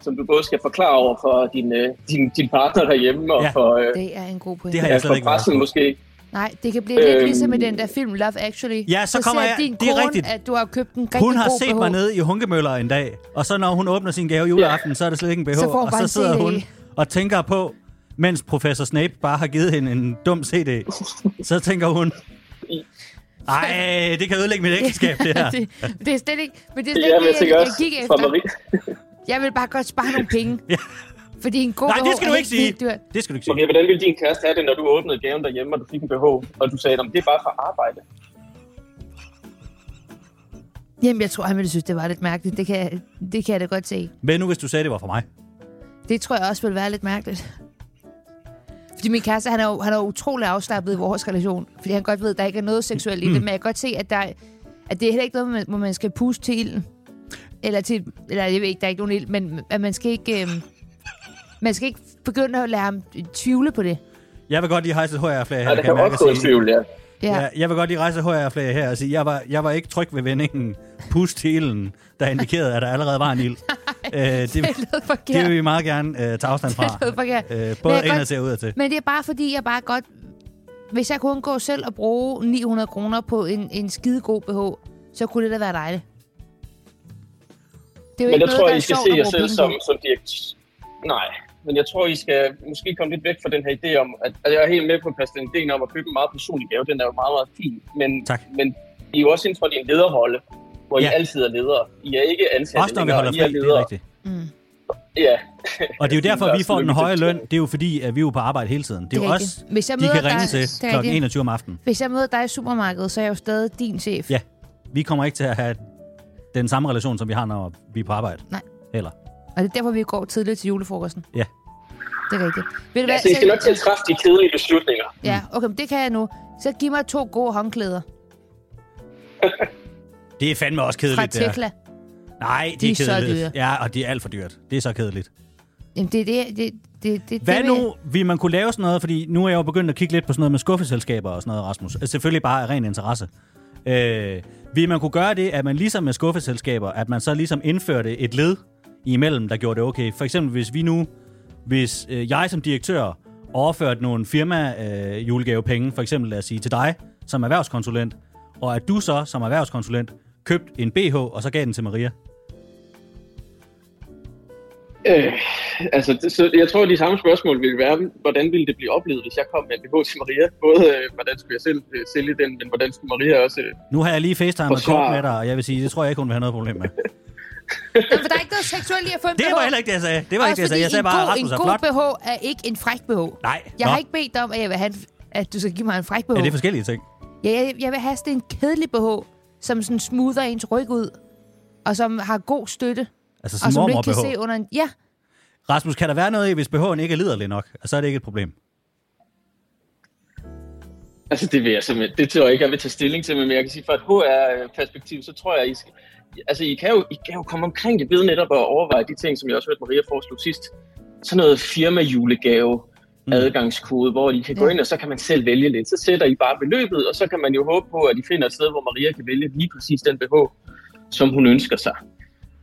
S6: som du både skal forklare over for din, øh, din, din partner derhjemme og
S2: Ja.
S6: ja. for, øh,
S3: Det er en god pointe.
S2: Det har
S6: ja,
S2: jeg slet
S6: for
S2: ikke været
S6: pressen
S2: på.
S6: måske.
S3: Nej, det kan blive øhm, lidt
S6: Øhm.
S3: ligesom i den der film Love Actually.
S2: Ja, så kommer
S3: ser
S2: jeg-
S3: din
S2: det er
S3: kone,
S2: rigtigt.
S3: at du har købt en rigtig
S2: Hun har
S3: god
S2: set
S3: BH.
S2: mig nede i Hunkemøller en dag, og så når hun åbner sin gave juleaften, så er det slet ikke en BH,
S3: Så får hun
S2: og
S3: bare
S2: så
S3: en
S2: sidder
S3: CD.
S2: hun og tænker på, mens professor Snape bare har givet hende en dum CD, så tænker hun, ej, det kan ødelægge mit ægteskab, det her.
S3: <laughs> det, det, er slet ikke, men det er
S6: Ja,
S3: slet
S6: men
S3: ikke
S6: jeg
S3: det,
S6: tænker
S3: jeg,
S6: også
S3: jeg gik
S6: for
S3: efter.
S6: Maria.
S3: Jeg vil bare godt spare nogle penge. ja. Fordi en god
S2: Nej,
S3: BH
S2: det skal
S3: er
S2: du ikke
S3: helt
S2: sige.
S3: vildt dyr.
S2: Det skal du ikke sige.
S6: Maria, hvordan ville din kæreste have det, når du åbnede gaven derhjemme, og du fik en BH, og du sagde, at det er bare for arbejde?
S3: Jamen, jeg tror, han ville synes, det var lidt mærkeligt. Det kan, det kan jeg da godt se.
S2: Hvad nu, hvis du sagde, det var for mig?
S3: Det tror jeg også ville være lidt mærkeligt. Fordi min kæreste, han er, jo, han er jo utrolig afslappet i vores relation. Fordi han godt ved, at der ikke er noget seksuelt i
S2: Mm.
S3: det. Men jeg kan godt se, at, der, er- at det er heller ikke noget, man- hvor man skal puste til ilden. Eller til... Eller jeg ved ikke, der er ikke nogen ild. Men at man skal ikke... Øh, man skal ikke begynde at lade ham tvivle på det.
S2: Jeg vil godt lige hejse et HR-flag her.
S6: Ja, der
S2: kan
S6: kan
S2: jeg mærke
S6: opstå
S2: at
S6: en
S2: sige.
S6: tvivl, ja.
S3: Ja.
S2: Ja, jeg vil godt lige rejse et HR-flag her og sige, jeg var, jeg var ikke tryg ved vendingen. Pust til ilden, der indikerede, at der allerede var en
S3: <laughs>
S2: ild. Øh, det,
S3: Det lød forkert.
S2: det vil vi meget gerne øh, tage afstand
S3: <laughs>
S2: fra.
S3: lød forkert. Men
S2: Øh,
S3: jeg
S2: både
S3: kan
S2: indad
S3: godt-
S2: til og udad til.
S3: Men det er bare fordi, jeg bare godt... Hvis jeg kunne undgå selv at bruge 900 kroner på en, en skidegod BH, så kunne det da være dejligt. Det er jo
S6: Men
S3: ikke
S6: der
S3: noget,
S6: tror
S3: der
S6: jeg, I
S3: er
S6: skal
S3: sjovt
S6: se
S3: at
S6: jer
S3: bruge
S6: selv
S3: penge
S6: som,
S3: på.
S6: som direkt... Nej, men jeg tror, I skal måske komme lidt væk fra den her idé om, at, at jeg er helt med på Christian ideen om at købe en meget personlig gave. Den er jo meget, meget fin. Men,
S2: Tak.
S6: men I er jo også inden for din lederrolle, hvor ja.
S2: Ja.
S6: I altid er ledere. I er ikke ansatte
S2: Også når vi holder
S6: I
S2: fri, det er rigtigt.
S6: Ja.
S2: Og
S6: <laughs>
S2: det er jo derfor, vi får den høje løn.
S6: Det
S2: Det er jo fordi, at vi er jo på arbejde hele tiden. Det er
S3: Det er
S2: jo
S3: rigtigt.
S2: os,
S3: Hvis jeg
S2: de
S3: møder
S2: kan ringe
S3: dig-
S2: til
S3: Det er
S2: kl.
S3: rigtigt.
S2: 21 om aftenen.
S3: Hvis jeg møder dig i supermarkedet, så er jeg jo stadig din chef.
S2: Ja. Vi kommer ikke til at have den samme relation, som vi har, når vi er på arbejde.
S3: Nej.
S2: Heller.
S3: Og det er derfor, vi går tidligt til julefrokosten.
S2: Ja.
S3: Det er rigtigt. Ved du
S6: er
S3: hvad?
S6: altså, I skal nok til at træffe de kedelige beslutninger.
S3: Ja, okay, men det kan jeg nu. Så giv mig to gode håndklæder
S2: Det er fandme også
S3: fra
S2: kedeligt, det her.
S3: Tekla.
S2: Nej, det
S3: De
S2: de
S3: er
S2: er
S3: så
S2: kedeligt.
S3: dyre.
S2: Ja, og det er alt for dyrt. Det er så kedeligt.
S3: Jamen, det er det, det, det, det
S2: Hvad
S3: det,
S2: nu, vil man kunne lave sådan noget? Fordi nu er jeg jo begyndt at kigge lidt på sådan noget med skuffeselskaber og sådan noget, Rasmus. Altså, Selvfølgelig bare af ren interesse. Øh, vil man kunne gøre det, at man ligesom med skuffeselskaber, at man så ligesom indførte et led imellem, der gjorde det okay? For eksempel hvis vi nu, hvis øh, jeg som direktør overførte nogle firma øh, julegavepenge, for eksempel lad os sige til dig som erhvervskonsulent, og at du så som erhvervskonsulent købte en BH, og så gav den til Maria.
S6: Øh, altså, det, så jeg tror, at de samme spørgsmål ville være, hvordan ville det blive oplevet, hvis jeg kom med en BH til Maria? Både, øh, hvordan skulle jeg selv øh, sælge den, men hvordan skulle Maria også... Øh,
S2: Nu har jeg lige facetimet
S6: Forsvar.
S2: kort med dig, og jeg vil sige, det tror jeg ikke, hun vil have noget problem med.
S3: Jamen, for der er ikke noget seksuelt i at få en
S2: Det
S3: BH.
S2: var heller ikke det, jeg sagde. Det var ikke
S3: Også
S2: det, jeg sagde. Jeg sagde
S3: fordi
S2: bare, at
S3: en
S2: Rasmus
S3: god,
S2: er
S3: en god
S2: flot.
S3: BH er ikke en fræk BH.
S2: Nej,
S3: Jeg
S2: nå.
S3: har ikke bedt om, at jeg vil have en, at du skal give mig en fræk BH.
S2: Er det forskellige ting?
S3: Ja, jeg, jeg vil have sådan en kedelig BH, som sådan smoother ens ryg ud, og som har god støtte,
S2: Altså
S3: og
S2: sådan
S3: som du ikke
S2: mormor
S3: kan
S2: BH.
S3: se under en... Ja,
S2: Rasmus, kan der være noget i, hvis BH'en ikke er liderlig nok? Og så er det ikke et problem.
S6: Altså, det vil jeg simpelthen, det tror jeg ikke, jeg vil tage stilling til, men jeg kan sige, fra et HR-perspektiv, så tror jeg, I skal, altså, I kan, jo, I kan jo komme omkring det ved netop at overveje de ting, som jeg også hørte Maria foreslog sidst. Sådan noget firmajulegave
S2: Mm.
S6: adgangskode, hvor I kan gå
S3: Ja.
S6: ind, og så kan man selv vælge lidt. Så sætter I bare beløbet, og så kan man jo håbe på, at I finder et sted, hvor Maria kan vælge lige præcis den BH, som hun ønsker sig.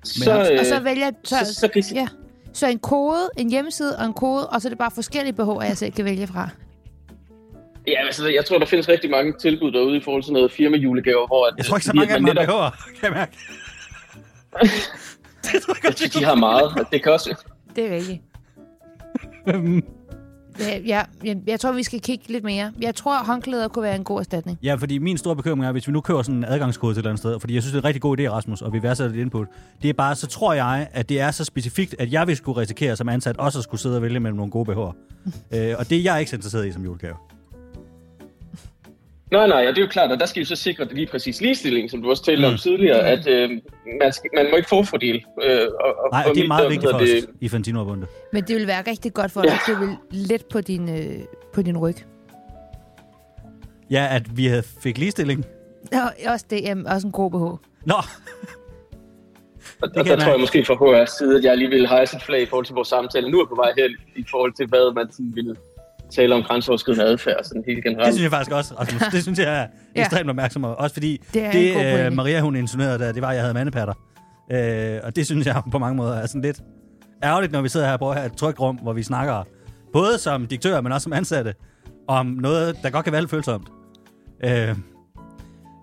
S6: Så,
S3: og så
S2: Altså,
S6: øh,
S3: vælger... Så,
S6: så- så kan I-
S3: ja. så en kode, en hjemmeside og en kode, og så er det bare forskellige BH'er, jeg selv kan vælge fra.
S6: ja, altså, jeg tror, der findes rigtig mange tilbud derude i forhold til sådan noget firmajulegaver, hvor at-
S2: Jeg tror ikke, så
S6: fordi at
S2: mange af dem
S6: man
S2: har
S6: netop-
S2: BH'er, <laughs> kan jeg mærke. det tror jeg
S6: Jeg
S2: godt,
S6: synes,
S2: det
S6: Altså, de har meget. og Det kan også,
S3: Det er rigtigt. ja, ja, jeg, jeg tror, vi skal kigge lidt mere. Jeg tror, håndklæder kunne være en god erstatning.
S2: Ja, fordi min store bekymring er, hvis vi nu kører sådan en adgangskode til et eller andet sted, fordi jeg synes, det er en rigtig god idé, Rasmus, og vi værdsætter dit input, det er bare, så tror jeg, at det er så specifikt, at jeg vil skulle risikere som ansat også at skulle sidde og vælge mellem nogle
S3: <laughs>
S2: gode BH'er. øh, og det er jeg ikke så interesseret i som julegave.
S6: Nej, nej, og det er jo klart, og der skal vi så sikre lige præcis ligestilling, som du også talte om
S2: Mm.
S6: tidligere, at øh, man, skal, man må ikke forfordele. Øh, og, og,
S2: Nej, og det er
S6: mit
S2: meget
S6: dom
S2: vigtigt for
S6: hedder
S2: os i Fantino og Bunde.
S3: Men det vil være rigtig godt for dig. Ja. Det vil let på din, øh, på din ryg.
S2: Ja, at vi havde fik ligestilling.
S3: Og også, det, jamen, også en god BH.
S2: Nå,
S6: Og,
S2: kan
S6: og
S2: jeg
S6: der tror jeg
S2: mærke.
S6: måske fra HR side, at jeg lige ville hejse et flag i forhold til vores samtale. Nu er på vej hen i forhold til, hvad man sådan ville tale om grænseoverskridende adfærd, sådan helt
S2: det
S6: generelt.
S2: synes jeg faktisk også, Rasmus. Det synes jeg er
S3: <laughs> Ja.
S2: ja. ekstremt opmærksom over. Også fordi
S3: Det er
S2: det,
S3: en god
S2: det
S3: pointe.
S2: øh, Maria hun insinuerede der, det var, at jeg havde mandepatter. Øh, og det synes jeg på mange måder er sådan lidt ærgerligt, når vi sidder her og prøver at have et trygt rum, hvor vi snakker både som diktører, men også som ansatte, om noget, der godt kan være lidt følsomt. Øh,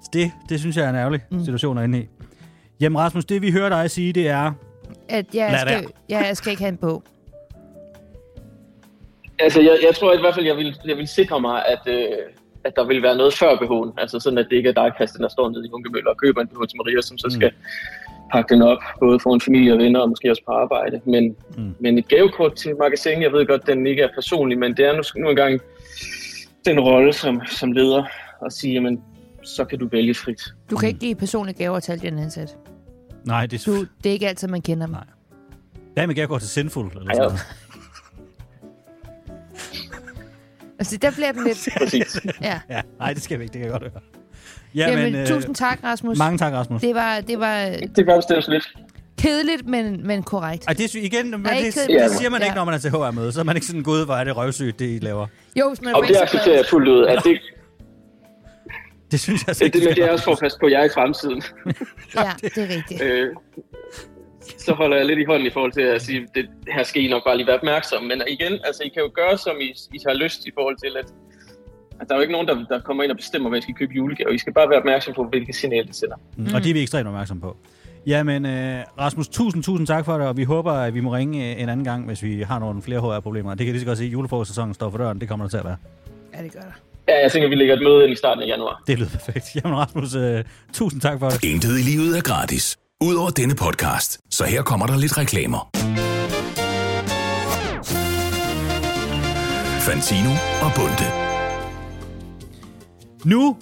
S2: så det, det synes jeg er en ærgerlig
S3: Mm.
S2: situation at ende i. Jamen Rasmus, det vi hører dig sige, det er...
S3: At jeg,
S2: Lad
S3: skal, ja, jeg skal ikke have en bog.
S6: Altså, jeg, jeg tror i hvert fald, jeg vil, jeg vil sikre mig, at, øh, at der vil være noget før BH'en. Altså sådan, at det ikke er dig, Christian, der står nede i Hunkemøller og køber en BH til Maria, som så skal pakke den op, både for en familie og venner, og måske også på arbejde. Men, mm. men et gavekort til magasin, jeg ved godt, den ikke er personlig, men det er nu, nu engang den rolle som, som leder at sige, jamen, så kan du vælge frit.
S3: Du kan ikke give personlige gaver til alle dine ansatte.
S2: Nej, det
S3: Du,
S2: er...
S3: det er ikke altid, man kender dem.
S2: Nej. Hvad med går til Sinful? Eller sådan
S6: Ej,
S2: noget.
S3: Altså, der bliver den lidt...
S6: <laughs> Præcis.
S3: Ja.
S2: Ja, nej, det skal vi ikke. Det kan jeg godt høre. øh,
S3: Jamen, Jamen tusind tak, Rasmus.
S2: Mange tak, Rasmus.
S3: Det var, det var øh,
S6: det var bestemt lidt.
S3: kedeligt, men, men korrekt.
S2: Ej, det, sy- igen, men
S3: ikke
S2: det,
S3: kedeligt?
S2: det, siger man
S3: Ja.
S2: ikke, når man er til HR-møde. Så er man ikke sådan, gud, hvor er det røvsygt, det I laver.
S3: Jo, hvis man
S6: Og
S3: er
S6: det accepterer jeg fuldt ud, at det,
S2: Det synes jeg så
S6: det,
S2: ikke.
S6: det,
S2: du
S6: men det
S2: skal
S6: er også for at passe på jer i fremtiden.
S3: Ja, det er rigtigt.
S6: øh, så holder jeg lidt i hånden i forhold til at sige, det her skal I nok bare lige være opmærksom. Men igen, altså, I kan jo gøre, som I, I har lyst i forhold til, at, at der er jo ikke nogen, der, der kommer ind og bestemmer, hvad I skal købe julegave. I skal bare være opmærksom på, hvilke signaler det sender.
S2: Mm. Og det er vi ekstremt opmærksomme på. Jamen, øh, Rasmus, tusind, tusind tak for det, og vi håber, at vi må ringe øh, en anden gang, hvis vi har nogle flere HR-problemer. Det kan lige så godt sige, at julefrokostsæsonen står for døren. Det kommer der til at være.
S3: Ja, det gør der.
S6: Ja, jeg tænker, vi lægger et møde ind i starten af januar.
S2: Det lyder perfekt. Jamen, Rasmus, øh, tusind tak for det.
S1: Intet i livet er gratis. Udover denne podcast, så her kommer der lidt reklamer. Fantino og Bunde.
S2: Nu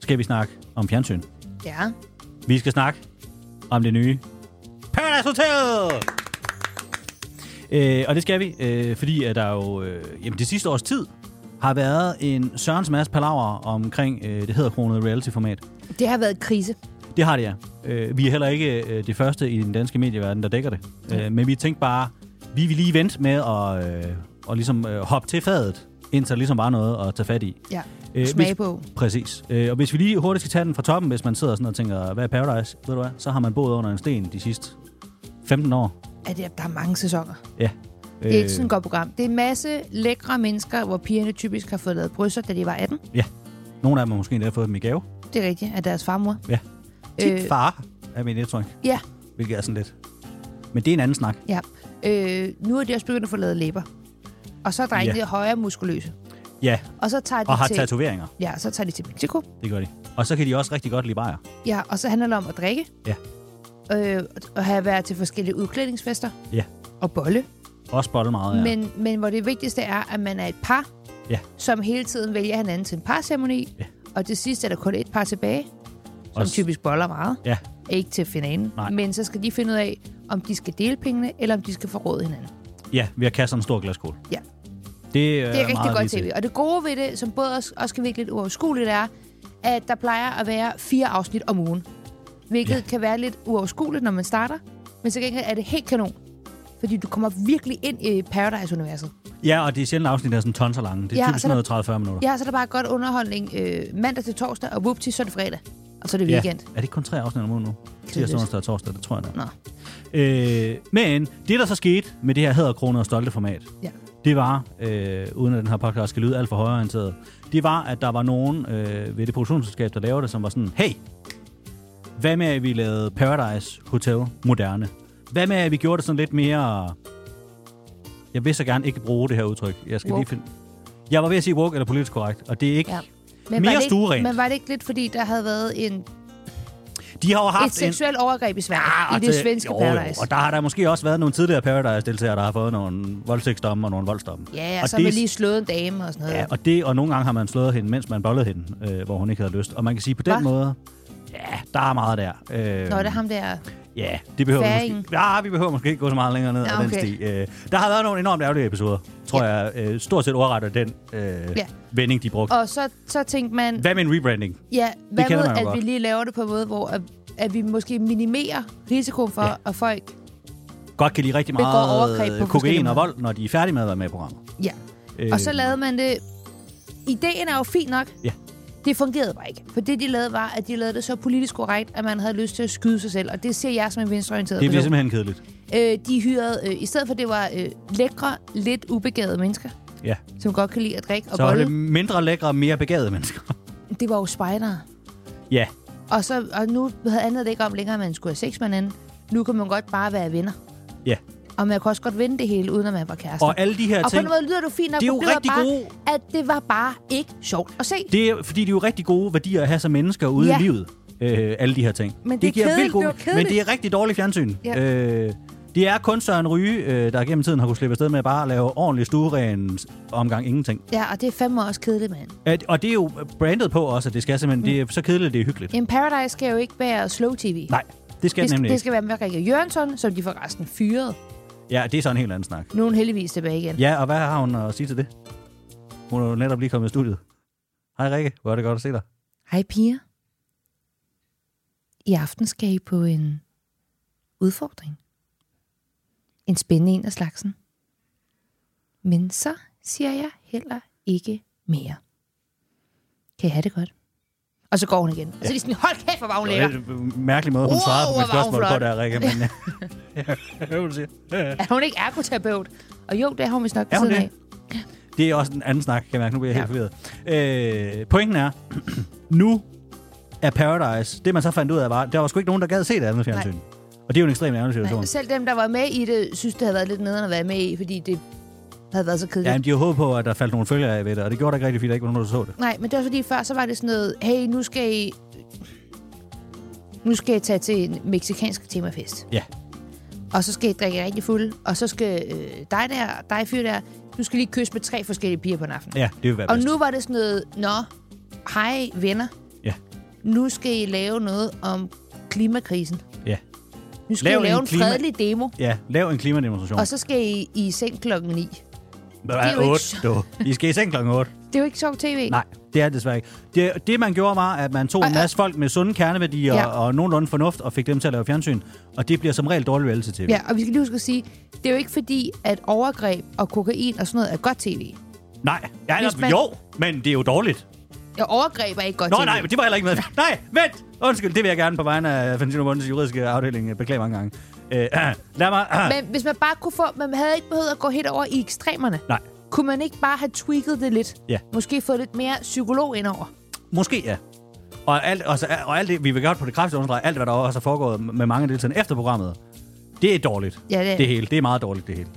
S2: skal vi snakke om fjernsyn.
S3: Ja.
S2: Vi skal snakke om det nye Paradise Hotel! Øh, og det skal vi, øh, fordi at der jo øh, jamen, det sidste års tid har været en sørens masse palaver omkring øh, det hedder kronet reality-format.
S3: Det har været krise.
S2: Det har det, ja. Øh, vi er heller ikke øh, det første i den danske medieverden, der dækker det. Øh, men vi tænkte bare, vi vil lige vente med at øh, og ligesom, øh, hoppe til fadet, indtil der ligesom var noget at tage fat i.
S3: Ja.
S2: Øh,
S3: Smag
S2: hvis-
S3: på.
S2: Præcis. Øh, og hvis vi lige hurtigt skal tage den fra toppen, hvis man sidder sådan og tænker, hvad er Paradise? Ved du hvad? Så har man boet under en sten de sidste 15 år.
S3: At det- der er mange sæsoner.
S2: Ja. Øh,
S3: Det er ikke sådan et godt program. Det er en masse lækre mennesker, hvor pigerne typisk har fået lavet bryster, da de var 18.
S2: Ja. Nogle af dem har måske endda fået dem i gave.
S3: Det er rigtigt, af deres farmor.
S2: Ja.
S3: Øh,
S2: Øh. Far er mit indtryk,
S3: ja,
S2: hvilket er sådan lidt. Men det er en anden snak.
S3: ja. Øh, nu er de også begyndt at få lavet læber. Og så er drengene
S2: Ja.
S3: ja. højere muskuløse.
S2: Ja,
S3: Og så tager de
S2: og har
S3: til,
S2: tatoveringer.
S3: Ja, så tager de til Mexico.
S2: Det gør de. Og så kan de også rigtig godt lide bajer.
S3: Ja, og så handler det om at drikke.
S2: Ja.
S3: Øh, og have været til forskellige udklædningsfester
S2: Ja.
S3: og bolle.
S2: Også bolle meget,
S3: Ja.
S2: ja.
S3: Men, men hvor det vigtigste er, at man er et par,
S2: Ja.
S3: som hele tiden vælger hinanden til en parceremoni.
S2: Ja.
S3: Og til sidst er der kun et par tilbage, som
S2: Også-
S3: typisk boller meget.
S2: Ja,
S3: Ikke til finalen.
S2: Nej.
S3: Men så skal de finde ud af, om de skal dele pengene, eller om de skal forråde hinanden.
S2: ja vi har kastet en stor glaskål.
S3: Ja.
S2: Det, øh,
S3: Det er ja, rigtig
S2: meget
S3: godt
S2: lige til.
S3: tv. Og det gode ved det, som både også, også kan virke lidt uoverskueligt, er, at der plejer at være fire afsnit om ugen. Hvilket
S2: Ja.
S3: ja. kan være lidt uoverskueligt, når man starter. Men til gengæld er det helt kanon. Fordi du kommer virkelig ind i Paradise-universet.
S2: Ja, og det er sjældent afsnit, der er sådan tons og lange. Det er
S3: Ja,
S2: ja,
S3: og
S2: typisk
S3: så er der-
S2: sådan noget 30-40 minutter.
S3: Ja, så er der bare godt underholdning øh, mandag til torsdag, og whoopty, så er det fredag. Og så er det weekend.
S2: Ja. Er det ikke kun tre afsnit om ugen nu? Tirsdag,
S3: Kedeligt.
S2: onsdag og torsdag, det tror jeg nok.
S3: Nå.
S2: Øh, men det, der så skete med det her hæderkroner og stolte format,
S3: Ja.
S2: det var, øh, uden at den her podcast skal lyde alt for højorienteret, det var, at der var nogen øh, ved det produktionsselskab, der lavede det, som var sådan, hey, hvad med, at vi lavede Paradise Hotel moderne? Hvad med, at vi gjorde det sådan lidt mere... Jeg vil så gerne ikke bruge det her udtryk. Jeg skal
S3: Woke.
S2: lige finde... Jeg var ved at sige woke eller politisk korrekt, og det er ikke... Ja.
S3: Ja.
S2: Mere
S3: var det
S2: stuerent.
S3: ikke, men var det ikke lidt, fordi der havde været en,
S2: De har jo haft
S3: et seksuelt overgreb i Sverige,
S2: Ah,
S3: i det
S2: til-
S3: svenske
S2: jo,
S3: Paradise?
S2: Jo, og der har der måske også været nogle tidligere Paradise-deltagere, der har fået nogle voldtægtsdomme og nogle voldsdomme.
S3: Ja, ja,
S2: og
S3: og så har man
S2: det-
S3: lige slået en dame og sådan noget.
S2: Ja, og, det, og nogle gange har man slået hende, mens man bollede hende, øh, hvor hun ikke havde lyst. Og man kan sige, på den
S3: Hva?
S2: måde, ja, der er meget der. Øh,
S3: Nå, det er ham der.
S2: Ja, det behøver vi
S3: Færingen.
S2: måske, ja, vi behøver måske ikke gå så meget længere ned
S3: Nå,
S2: ad den
S3: okay.
S2: sti. Øh, der har været nogle enormt ærgerlige episoder, tror ja. jeg. Øh, stort set overretter den øh, ja. vending, de brugte. Og...
S3: Og så, så tænkte man,
S2: Hvad med en rebranding?
S3: ja, hvad
S2: kender
S3: med,
S2: man jo
S3: at
S2: godt.
S3: vi lige laver det på en måde, hvor at, at vi måske minimerer risikoen for,
S2: Ja.
S3: ja. at folk...
S2: Godt kan lide rigtig
S3: Begår
S2: meget
S3: overgreb
S2: øh,
S3: på
S2: kokain
S3: forskellige
S2: og
S3: måder.
S2: vold, når de er færdige med at være med i programmet.
S3: Ja. Øh. Og så lavede man det... Ideen er jo fin nok.
S2: Ja.
S3: Det fungerede bare ikke. For det, de lavede, var, at de lavede det så politisk korrekt, at man havde lyst til at skyde sig selv. Og det ser jeg som en venstreorienteret
S2: Det bliver
S3: person.
S2: simpelthen kedeligt.
S3: Øh, de hyrede, øh, i stedet for, at det var øh, lækre, lidt ubegavede mennesker,
S2: Ja.
S3: som godt kan lide at drikke og
S2: Så er
S3: bolle.
S2: det mindre lækre, mere begavede mennesker.
S3: Det... det var jo spejdere.
S2: <laughs> Ja,
S3: Og, så, og nu handlede det ikke om længere, at man skulle have sex med hinanden. Nu kan man godt bare være venner.
S2: ja.
S3: Og man kunne også godt vinde det hele, uden at man var kærester.
S2: Og alle de her
S3: Altså, og på
S2: ting,
S3: en måde lyder du fint nok.
S2: det er jo
S3: men det var
S2: rigtig
S3: bare,
S2: gode-
S3: At det var bare ikke sjovt at se. Det,
S2: det er, fordi det er jo rigtig gode værdier at have som mennesker ude
S3: Ja.
S2: i livet. Øh, alle de her ting.
S3: Men det er kedeligt,
S2: vildt gode-
S3: det var kedeligt.
S2: Men det er rigtig dårligt fjernsyn.
S3: Ja.
S2: Øh, det er kun Søren Ryge, øh, der gennem tiden har kunnet slippe afsted med bare at lave ordentlig stueren omgang ingenting.
S3: ja, og det er fandme også kedeligt, mand.
S2: At, og det er jo brandet på også, at det skal simpelthen...
S3: Mm.
S2: Det er så kedeligt, det er hyggeligt.
S3: En Paradise skal jo ikke være slow tv.
S2: Nej, det skal
S3: det,
S2: det
S3: skal,
S2: nemlig
S3: det
S2: ikke.
S3: skal være med Rikke Jørgensen, som de forresten fyrede.
S2: Ja, det er så en helt anden snak.
S3: Nu er hun heldigvis tilbage igen.
S2: Ja, og hvad har hun at sige til det? Hun er jo netop lige kommet i studiet. Hej Rikke, hvor er det godt at se dig.
S3: Hej piger. I aften skal I på en udfordring. En spændende en af slagsen. Men så siger jeg heller ikke mere. Kan I have det godt? Og så går hun igen. Og så er de sådan, hold kæft, hvor var hun
S2: Det var
S3: lækker.
S2: en lidt mærkelig måde, hun
S3: Wow,
S2: svarede på
S3: hvor
S2: mit
S3: var hun
S2: spørgsmål på
S3: flot.
S2: der, Rikke. Men, <laughs>
S3: uh.
S2: ja, hvad du siger.
S3: Er hun ikke ergoterapeut? Og jo, det er hun vist nok ved
S2: Er hun
S3: siden
S2: det? Det er også en anden snak, kan jeg mærke. <clears throat> Nu bliver jeg helt forvirret. Øh, pointen er, nu af Paradise, det man så fandt ud af, var, at der var sgu ikke nogen, der gad se det andet fjernsyn. Og det er jo en ekstremt ærgerlig situation.
S3: Nej, selv dem, der var med i det, synes, det havde været lidt nederen at være med i, fordi det havde været så kedeligt.
S2: Ja, men de har håbet på, at der faldt nogle følger af ved det, og det gjorde der ikke rigtigt, fordi der ikke var nogen, der så det.
S3: Nej, men det var fordi før, så var det sådan noget, hey, nu skal I... Nu skal I tage til en meksikansk temafest.
S2: Ja.
S3: Og så skal I drikke jer rigtig fuld. Og så skal øh, dig der, dig fyr der, du skal lige kysse med tre forskellige piger på en aften.
S2: Ja, det vil være
S3: og
S2: bedst.
S3: nu var det sådan noget, nå, hej venner.
S2: Ja.
S3: Nu skal I lave noget om klimakrisen.
S2: Ja.
S3: Nu skal
S2: Lav
S3: Lav I lave
S2: en
S3: en,
S2: klima-
S3: fredelig demo.
S2: Ja, lav en klimademonstration.
S3: Og så skal I i seng klokken 9.
S2: Der
S3: det er jo ikke så-
S2: er 8, I skal i seng klokken 8.
S3: Det er jo ikke sjovt tv.
S2: Nej, det er det desværre ikke. Det, det, man gjorde, var, at man tog en
S3: Og- og-
S2: masse folk med sunde kerneværdier
S3: Ja.
S2: ja. og nogenlunde fornuft, og fik dem til at lave fjernsyn. Og det bliver som regel dårlig reality-tv.
S3: Ja, og vi skal lige huske at sige, det er jo ikke fordi, at overgreb og kokain og sådan noget er godt tv.
S2: Nej, ja,
S3: Hvis
S2: eller,
S3: man-
S2: man... jo, men det er jo dårligt.
S3: Ja, overgreb er ikke godt
S2: Nå,
S3: tv.
S2: nej, men det var heller ikke med. Nej, vent! Undskyld, det vil jeg gerne på vegne af Fantino Bundes juridiske afdeling øh, beklage mange gange. Øh, <clears throat> lad mig...
S3: Men hvis man bare kunne få... Man havde ikke behøvet at gå helt over i ekstremerne.
S2: Nej,
S3: Kunne man ikke bare have tweaked det lidt?
S2: Ja.
S3: Måske få lidt mere psykolog indover?
S2: Måske ja. Og alt, og, så- og alt det, vi vil godt på det kraftige understrege, alt hvad der også er foregået med mange af deltagerne efter programmet, det er dårligt.
S3: Ja, det er-
S2: det hele. Det er meget dårligt, det hele.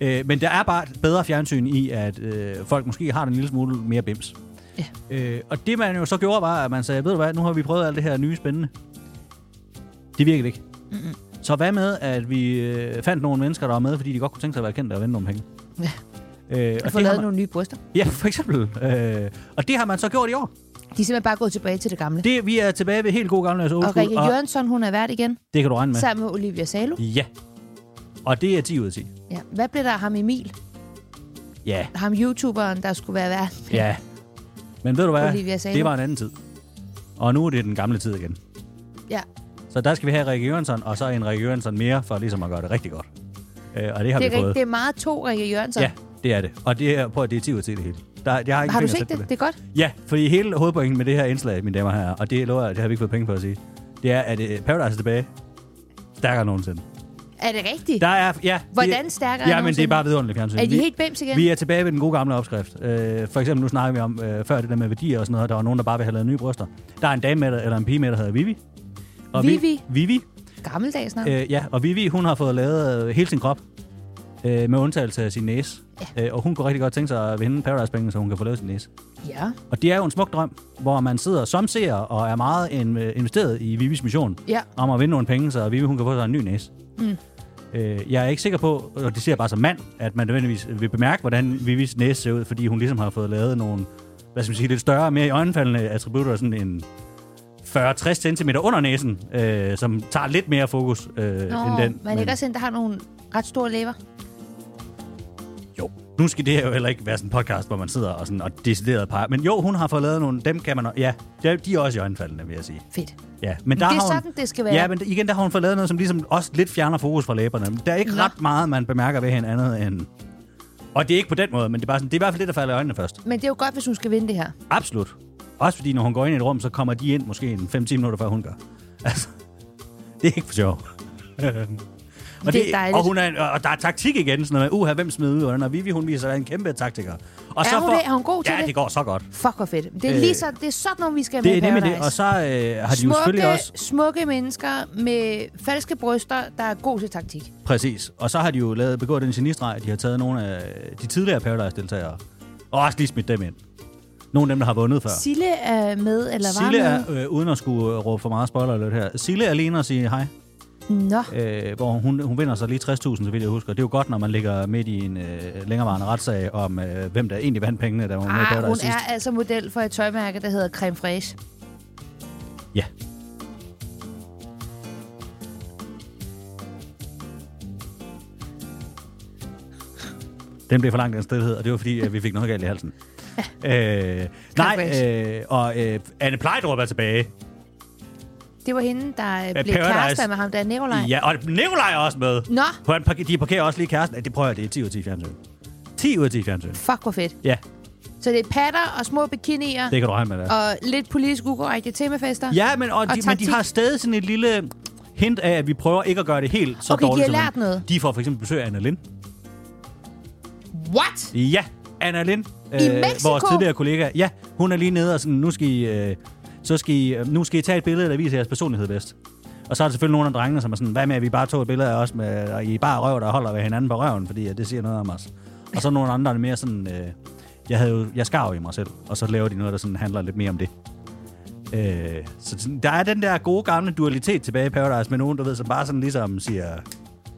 S2: Øh, men der er bare et bedre fjernsyn i, at øh, folk måske har det en lille smule mere bims.
S3: Ja.
S2: Øh, og det man jo så gjorde, var, at man sagde, ved du hvad, nu har vi prøvet alt det her nye spændende. Det virkede ikke. Mm-hmm. Så hvad med, at vi øh, fandt nogle mennesker, der var med, fordi de godt kunne tænke sig at være kendte og vinde nogle penge?
S3: Ja.
S2: Øh,
S3: Og
S2: og
S3: få
S2: det har
S3: lavet
S2: man,
S3: nogle nye bryster.
S2: ja, for eksempel. Øh, og det har man så gjort i år.
S3: De er simpelthen bare gået tilbage til det gamle. Det
S2: Det, vi er tilbage ved helt god gammeldags old
S3: og
S2: school,
S3: Rikke Jørgensen, hun er vært igen,
S2: det kan du regne med.
S3: sammen med Olivia Salo.
S2: Ja. Og det er 10 ud af 10.
S3: Ja. Hvad blev der af ham Emil?
S2: Ja,
S3: Ham YouTuberen, der skulle være vært?
S2: ja. Men ved du hvad?
S3: Olivia Salo.
S2: Det var en anden tid. Og nu er det den gamle tid igen.
S3: Ja.
S2: Så der skal vi have Rikke Jørgensen, og så en Rikke Jørgensen mere, for ligesom at gøre det rigtig godt. Øh, og det har
S3: Det er,
S2: vi
S3: rigtigt,
S2: fået.
S3: det er meget to Rikke Jørgensen.
S2: ja, det er det. Og det er, prøv at det er 10 ud af 10 det hele. Der, jeg har, ikke
S3: Har du
S2: fingre
S3: set
S2: sat på
S3: det? Det er godt.
S2: Ja, fordi hele hovedpointen med det her indslag, mine damer og herrer, og det lover jeg, det har vi ikke fået penge på at sige, det er, at øh, Paradise er tilbage. Stærkere end nogensinde.
S3: Er det rigtigt?
S2: Der er, ja,
S3: Hvordan stærkere
S2: Ja, men det
S3: end
S2: er
S3: nogensinde?
S2: bare vidunderligt fjernsyn.
S3: Er de
S2: Vi-
S3: helt bims igen?
S2: Vi er tilbage ved den gode gamle opskrift. Øh, for eksempel, nu snakker vi om øh, før det der med værdier og sådan noget, der var nogen, der bare ville have lavet nye bryster. Der er en dame med, der- eller en pige med, der hedder Vivi. Og Vi-
S3: Vivi?
S2: Vivi,
S3: Gammeldags navn.
S2: øh, ja. Og Vivi, hun har fået lavet øh, hele sin krop, øh, med undtagelse af sin næse. Ja. Øh, og hun kunne rigtig godt tænke sig at vinde Paradise-pengene, så hun kan få lavet sin næse.
S3: Ja.
S2: Og det er jo en smuk drøm, hvor man sidder som seer og er meget in- øh, investeret i Vivis mission
S3: Ja.
S2: om at vinde nogle penge, så Vivi hun kan få sig en ny næse. Mm. Øh, jeg er ikke sikker på, og det ser jeg bare som mand, at man nødvendigvis vil bemærke, hvordan Vivis næse ser ud, fordi hun ligesom har fået lavet nogle, hvad skal man sige, lidt større, mere øjenfaldende attributter, sådan en 40-60 cm under næsen, øh, som tager lidt mere fokus øh,
S3: Nå,
S2: end den.
S3: man er ikke også en, der har nogle ret store læber?
S2: Jo, nu skal det her jo heller ikke være sådan en podcast, hvor man sidder og, sådan, og decideret peger. Men jo, hun har fået lavet nogle, dem kan man... Ja, de de er også i øjenfaldene, vil jeg sige.
S3: Fedt.
S2: Ja, men der
S3: det er
S2: har hun,
S3: sådan, det skal være.
S2: Ja, men igen, der har hun fået lavet noget, som ligesom også lidt fjerner fokus fra læberne. Der er ikke
S3: Nå.
S2: Nå. ret meget, man bemærker ved hende andet end... Og det er ikke på den måde, men det er, bare sådan, det er i hvert fald det, der falder i øjnene først.
S3: Men det er jo godt, hvis hun skal vinde det her.
S2: Absolut. Også fordi, når hun går ind i et rum, så kommer de ind måske en 5-10 minutter, før hun gør. Altså, <laughs> det er ikke for sjov. og,
S3: Det er dejligt.
S2: og, hun er, og der er taktik igen, sådan noget med, uha, hvem smider ud, og den?" og Vivi, hun viser sig at være en kæmpe taktiker. Og
S3: Er hun det? Er hun god til
S2: ja,
S3: det?
S2: det går så godt.
S3: Fuck, hvor fedt. Det er, øh,
S2: Øh,
S3: lige så, det er sådan nogle, vi skal have
S2: Det er
S3: med i
S2: nemlig
S3: Paradise.
S2: det, og så øh, har de jo selvfølgelig
S3: smukke,
S2: også...
S3: smukke mennesker med falske bryster, der er god til taktik.
S2: Præcis. Og så har de jo lavet, begået den genistreg, at de har taget nogle af de tidligere Paradise-deltagere, og også lige smidt dem ind. Nogle af dem, der har vundet før.
S3: Sille er med, eller var
S2: Sille
S3: med?
S2: er, øh, uden at skulle øh, råbe for meget spoiler alert her, Sille er alene og siger hej,
S3: Nå,
S2: øh, hvor hun, hun vinder sig lige 60.000, så vidt jeg husker. Det er jo godt, når man ligger midt i en øh, længerevarende retssag om, øh, hvem der egentlig vandt pengene, da hun var med i
S3: ah,
S2: Paradise
S3: hun
S2: sidst.
S3: er altså model for et tøjmærke, der hedder Creme Fraiche.
S2: Ja. Den blev for langt den stillhed, og det var fordi, at vi fik noget galt i
S3: <laughs>
S2: halsen. øh, nej, øh, og øh, Anne Plejdrup er tilbage.
S3: Det var hende, der øh, blev
S2: Paradise.
S3: kærester med ham, der er Nikolaj.
S2: Ja, og Nikolaj er også med.
S3: Nå.
S2: På en parker, de parkerer også lige kæresten. Ja, Det prøver jeg, det er 10 ud af 10 fjernsyn. 10 ud af 10 fjernsyn.
S3: Fuck, hvor fedt.
S2: Ja,
S3: Så det er patter og små bikinier
S2: det kan du regne med. Der.
S3: og lidt politisk ukorrekte temafester.
S2: Ja, men, og de, men
S3: taktik.
S2: de har stadig sådan et lille hint af, at vi prøver ikke at gøre det helt så
S3: Okay, de
S2: dårligt.
S3: har
S2: som man-
S3: lært noget.
S2: De får for eksempel besøg af Anna Lind.
S3: What?
S2: Ja, Anna Lind.
S3: I Mexico?
S2: Vores tidligere kollega. Ja, hun er lige nede og sådan, nu skal I... Øh, så skal I, øh, nu skal I tage et billede, der viser jeres personlighed bedst. Og så er der selvfølgelig nogle af drengene, som er sådan, hvad med, at vi bare tog et billede af os, med, og I bare røv, der holder ved hinanden på røven, fordi at det siger noget om os. Og så er nogle andre, der er mere sådan, øh, jeg, havde jo, jeg skar jo i mig selv, og så laver de noget, der sådan handler lidt mere om det. Øh, så sådan, der er den der gode gamle dualitet tilbage i Paradise med nogen, du ved, som bare sådan ligesom siger,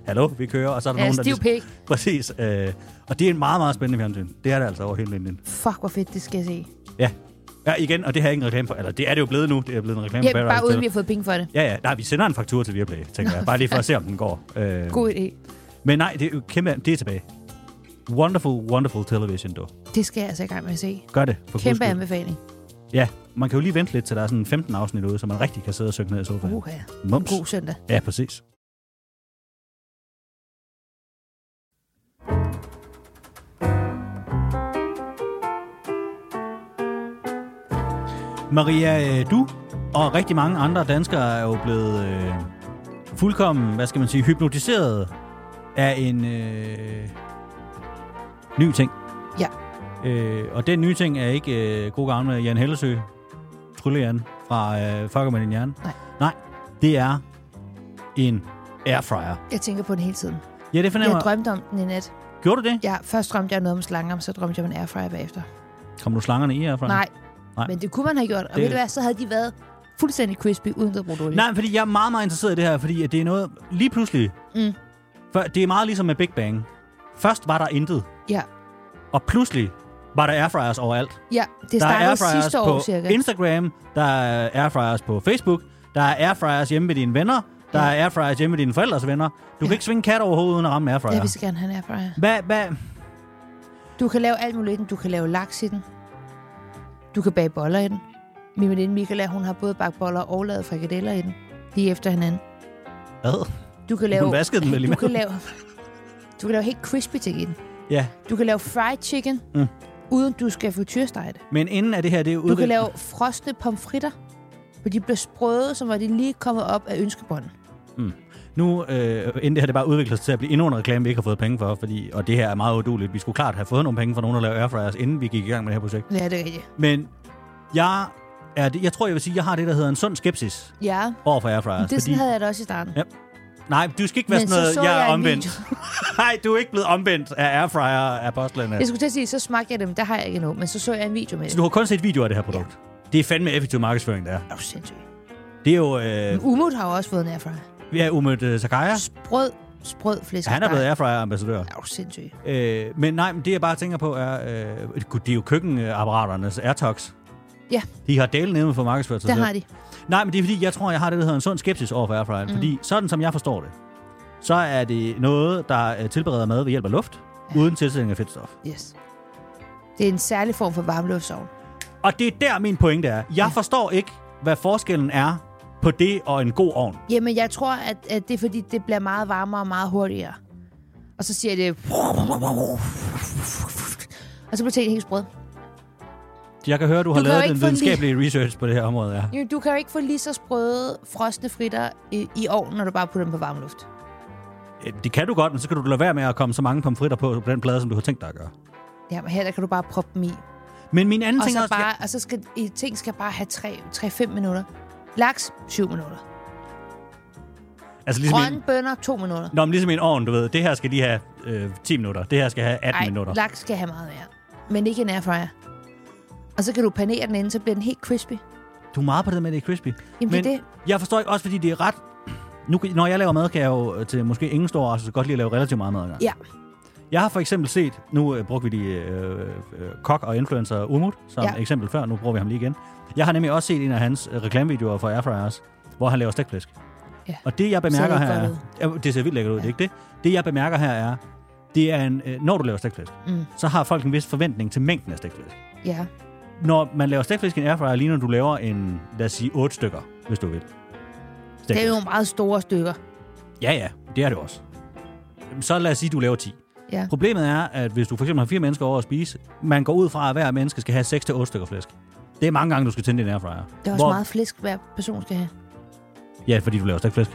S2: hallo, vi kører, og så er der
S3: Ja,
S2: nogen, der...
S3: stiv
S2: ligesom-
S3: pik.
S2: Præcis. Øh, og det er en meget, meget spændende fjernsyn. Det er det altså over hele linjen.
S3: Fuck, hvor fedt, det skal jeg se.
S2: Ja. Ja, igen, og det har jeg ikke en reklame for. Eller det er det jo blevet nu. Det er blevet en reklame
S3: Ja,
S2: for Paradise.
S3: bare uden
S2: Hotel.
S3: vi har fået penge for det.
S2: Ja, ja. Nej, vi sender en faktur til Viaplay, tænker jeg. Bare lige for at se, om den går. Øh,
S3: God idé.
S2: Men nej, det er jo kæmpe... Det er tilbage. Wonderful, wonderful television, du.
S3: Det skal jeg altså i gang med at se.
S2: Gør det. For guds
S3: Kæmpe
S2: skyld.
S3: anbefaling.
S2: Ja, man kan jo lige vente lidt, til der er sådan 15 afsnit ude, så man rigtig kan sidde og synge ned i sofaen.
S3: Uha.
S2: Mums.
S3: God søndag.
S2: Ja, præcis. Maria, øh, du og rigtig mange andre danskere er jo blevet øh, fuldkommen, hvad skal man sige, hypnotiseret af en øh, ny ting.
S3: Ja.
S2: Øh, og den nye ting er ikke øh, god gamle Jan Hellesø, Tryllejan fra øh, Fucker med din hjerne.
S3: Nej.
S2: Nej, det er en airfryer.
S3: Jeg tænker på den hele tiden.
S2: Ja, det fornemmer
S3: Jeg drømte om den i nat.
S2: Gjorde du det?
S3: Ja, først drømte jeg noget om slanger, men så drømte jeg om en airfryer bagefter.
S2: Kom du slangerne i airfryer?
S3: Nej.
S2: Nej.
S3: Nej. Men det kunne man have gjort. Og
S2: Det-
S3: det... ved du hvad, så havde de været fuldstændig crispy, uden at bruge olie.
S2: Nej, fordi jeg er meget, meget interesseret i det her, fordi at det er noget lige pludselig.
S3: Mm.
S2: For det er meget ligesom med Big Bang. Først var der intet,
S3: Ja.
S2: og pludselig var der airfryers overalt.
S3: ja, det
S2: der er
S3: startede
S2: airfryers
S3: sidste
S2: på
S3: år cirka.
S2: Instagram, der er airfryers på Facebook, der er airfryers hjemme med dine venner, der er airfryers hjemme med dine forældres venner. Du kan ikke svinge kat over hovedet uden at ramme en airfryer.
S3: Jeg vil så gerne have en airfryer.
S2: Hvad, hvad?
S3: Du kan lave alt muligt i den. Du kan lave laks i den. Du kan bage boller i den. Min veninde Michaela, hun har både bagt boller og lavet frikadeller i den. Lige efter hinanden.
S2: Hvad?
S3: Du kan lave...
S2: Hun vaskede den vel
S3: Du kan
S2: imellem?
S3: lave... Du kan lave helt crispy ting i den.
S2: Ja,
S3: Du kan lave fried chicken,
S2: Mm.
S3: mm. uden du skal frityrestege det.
S2: men inden af det her, det er
S3: Du kan
S2: udviklet-
S3: lave frosne pomfritter, for de bliver sprøde, som var de lige kommet op af ønskebånden.
S2: Nu øh, inden det her det bare udvikler sig til at blive endnu en reklame, vi ikke har fået penge for, fordi, og det her er meget uduligt. Vi skulle klart have fået nogle penge fra nogen, der laver airfryers, inden vi gik i gang med det her projekt.
S3: Ja, det er rigtigt.
S2: Men jeg, er det, jeg tror, jeg vil sige, jeg har det, der hedder en sund skepsis
S3: Ja,
S2: over for airfryers.
S3: det sådan havde jeg det også i starten.
S2: Altså, Ja, Nej, du skal ikke være
S3: Men
S2: sådan noget,
S3: så så
S2: jeg er
S3: jeg en
S2: omvendt. Nej, du er ikke blevet omvendt af airfryer apostlerne.
S3: Jeg skulle til at sige, så smagte jeg dem, der har jeg ikke endnu, men så så jeg en video med
S2: Så
S3: det.
S2: du har kun set videoer af det her produkt. Det er fandme effektiv markedsføring, der.
S3: Er du sindssyg?
S2: Det er jo øh,
S3: Umut har jo også fået en airfryer.
S2: vi er umødt øh, Zakaria.
S3: Sprød, sprød flæsk.
S2: Han er blevet airfryer-ambassadør.
S3: Er du sindssyg?
S2: Øh, men nej, men det jeg bare tænker på er, øh, gud, det er jo køkkenapparaternes Airtox.
S3: Ja,
S2: De har delen nede for markedsført sig
S3: der
S2: selv.
S3: har de.
S2: Nej, men det er fordi, jeg tror, jeg har det, der hedder en sund skepsis over for airfryer. Mm. Fordi sådan som jeg forstår det, så er det noget, der øh, tilbereder mad ved hjælp af luft, ja. uden tilsætning af fedtstof.
S3: Yes. Det er en særlig form for varmluftsovn.
S2: Og det er der, min pointe er. Jeg ja. forstår ikke, hvad forskellen er på det og en god ovn.
S3: Jamen, jeg tror, at, at det er fordi, det bliver meget varmere og meget hurtigere. Og så siger det... Og så bliver tingene helt sprød.
S2: Jeg kan høre, du har
S3: Du kan jo
S2: lavet
S3: ikke
S2: den
S3: få lige-
S2: videnskabelige research på det her område. Ja.
S3: Jamen, Du kan jo ikke få lige så sprøde frosne fritter i, i ovnen, når du bare putter dem på varm luft.
S2: Øh, Det kan du godt, men så kan du lade være med at komme så mange pomfritter på, på den plade, som du har tænkt dig at gøre.
S3: Jamen, her der kan du bare proppe dem i.
S2: Men min anden
S3: Og
S2: ting er
S3: så,
S2: også...
S3: bare, og så skal i ting skal bare have 3-5 minutter. Laks, 7 minutter.
S2: altså, ligesom en-
S3: Grønne bønner, 2 minutter.
S2: Nå, men ligesom i en ovn, du ved. Det her skal lige have øh, 10 minutter. Det her skal have 18
S3: Nej,
S2: minutter.
S3: laks skal have meget mere. Men ikke en airfryer. Og så kan du panere den inden, så bliver den helt crispy.
S2: Du er meget på det med, at det er crispy.
S3: Jamen,
S2: men
S3: det er det.
S2: jeg forstår ikke også, fordi det er ret... Nu, kan- når jeg laver mad, kan jeg jo øh, til måske ingen stor altså godt lige lave relativt meget mad. ad gangen.
S3: Ja,
S2: Jeg har for eksempel set, nu øh, brugte vi de øh, øh, kok og influencer Umut som ja.
S3: Ja.
S2: eksempel før, nu bruger vi ham lige igen. Jeg har nemlig også set en af hans øh, reklamevideoer for Airfryers, hvor han laver stegt
S3: Ja.
S2: Og det jeg bemærker
S3: det
S2: her er,
S3: godt
S2: ja, det ser vildt lækkert ud, ja. det er ikke det? Det jeg bemærker her er, det er en, øh, når du laver stegt mm. så har folk en vis forventning til mængden af stegt
S3: ja.
S2: når man laver stegt fisk i en airfryer, ligner du laver en, lad os sige, otte stykker, hvis du vil. Stegt
S3: Det er
S2: fisk.
S3: jo meget store stykker.
S2: Ja, ja, det er det også. Jamen, Så lad os sige, du laver 10.
S3: Ja.
S2: Problemet er, at hvis du for eksempel har fire mennesker over at spise, man går ud fra, at hver menneske skal have 6-8 stykker flæsk. Det er mange gange, du skal tænde din airfryer.
S3: Det er også Hvor... meget flæsk, hver person skal have.
S2: Ja, fordi du laver stegt flæsk.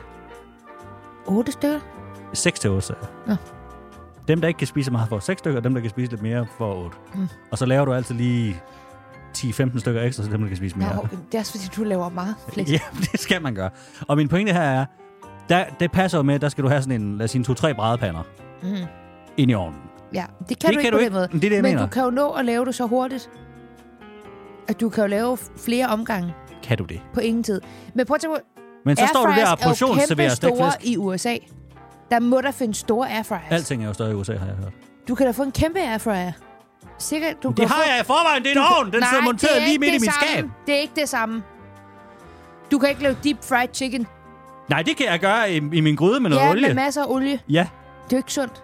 S3: 8 stykker?
S2: 6-8 stykker.
S3: Nå.
S2: Dem, der ikke kan spise så meget, får 6 stykker, og dem, der kan spise lidt mere, får 8. Mm. Og så laver du altid lige 10-15 stykker ekstra, så dem, der kan spise
S3: Nå,
S2: mere.
S3: det er også fordi, du laver meget flex.
S2: <laughs> Ja, det skal man gøre. Og min pointe her er, der, det passer jo med, at der skal du have sådan en, lad os sige, en to-tre bradepander
S3: Mm.
S2: ind i ovnen.
S3: Ja, det kan
S2: Det
S3: du
S2: kan
S3: ikke
S2: du
S3: på
S2: ikke.
S3: den måde.
S2: Men det er det, jeg
S3: Men
S2: mener.
S3: du kan jo nå at lave det så hurtigt, at du kan jo lave flere omgange
S2: Kan du det?
S3: på ingen tid. Men prøv at tænke på,
S2: Men så står du der og
S3: airfryers er jo kæmpe
S2: portionsserverer stegt
S3: store
S2: flæsk.
S3: i USA. Der må der finde store airfryers.
S2: Alting er jo større i USA, har jeg hørt.
S3: Du kan da få en kæmpe airfryer. Sikkert, du
S2: Det
S3: kan
S2: har
S3: få...
S2: jeg i forvejen, det er en ovn! Den
S3: Nej,
S2: sidder
S3: det
S2: monteret
S3: er
S2: lige
S3: ikke
S2: midt i
S3: det
S2: mit
S3: samme.
S2: skab.
S3: Det er ikke det samme. Du kan ikke lave deep fried chicken.
S2: Nej, det kan jeg gøre i, i min gryde med noget
S3: ja,
S2: olie.
S3: med masser af olie.
S2: Ja,
S3: Det er jo ikke sundt.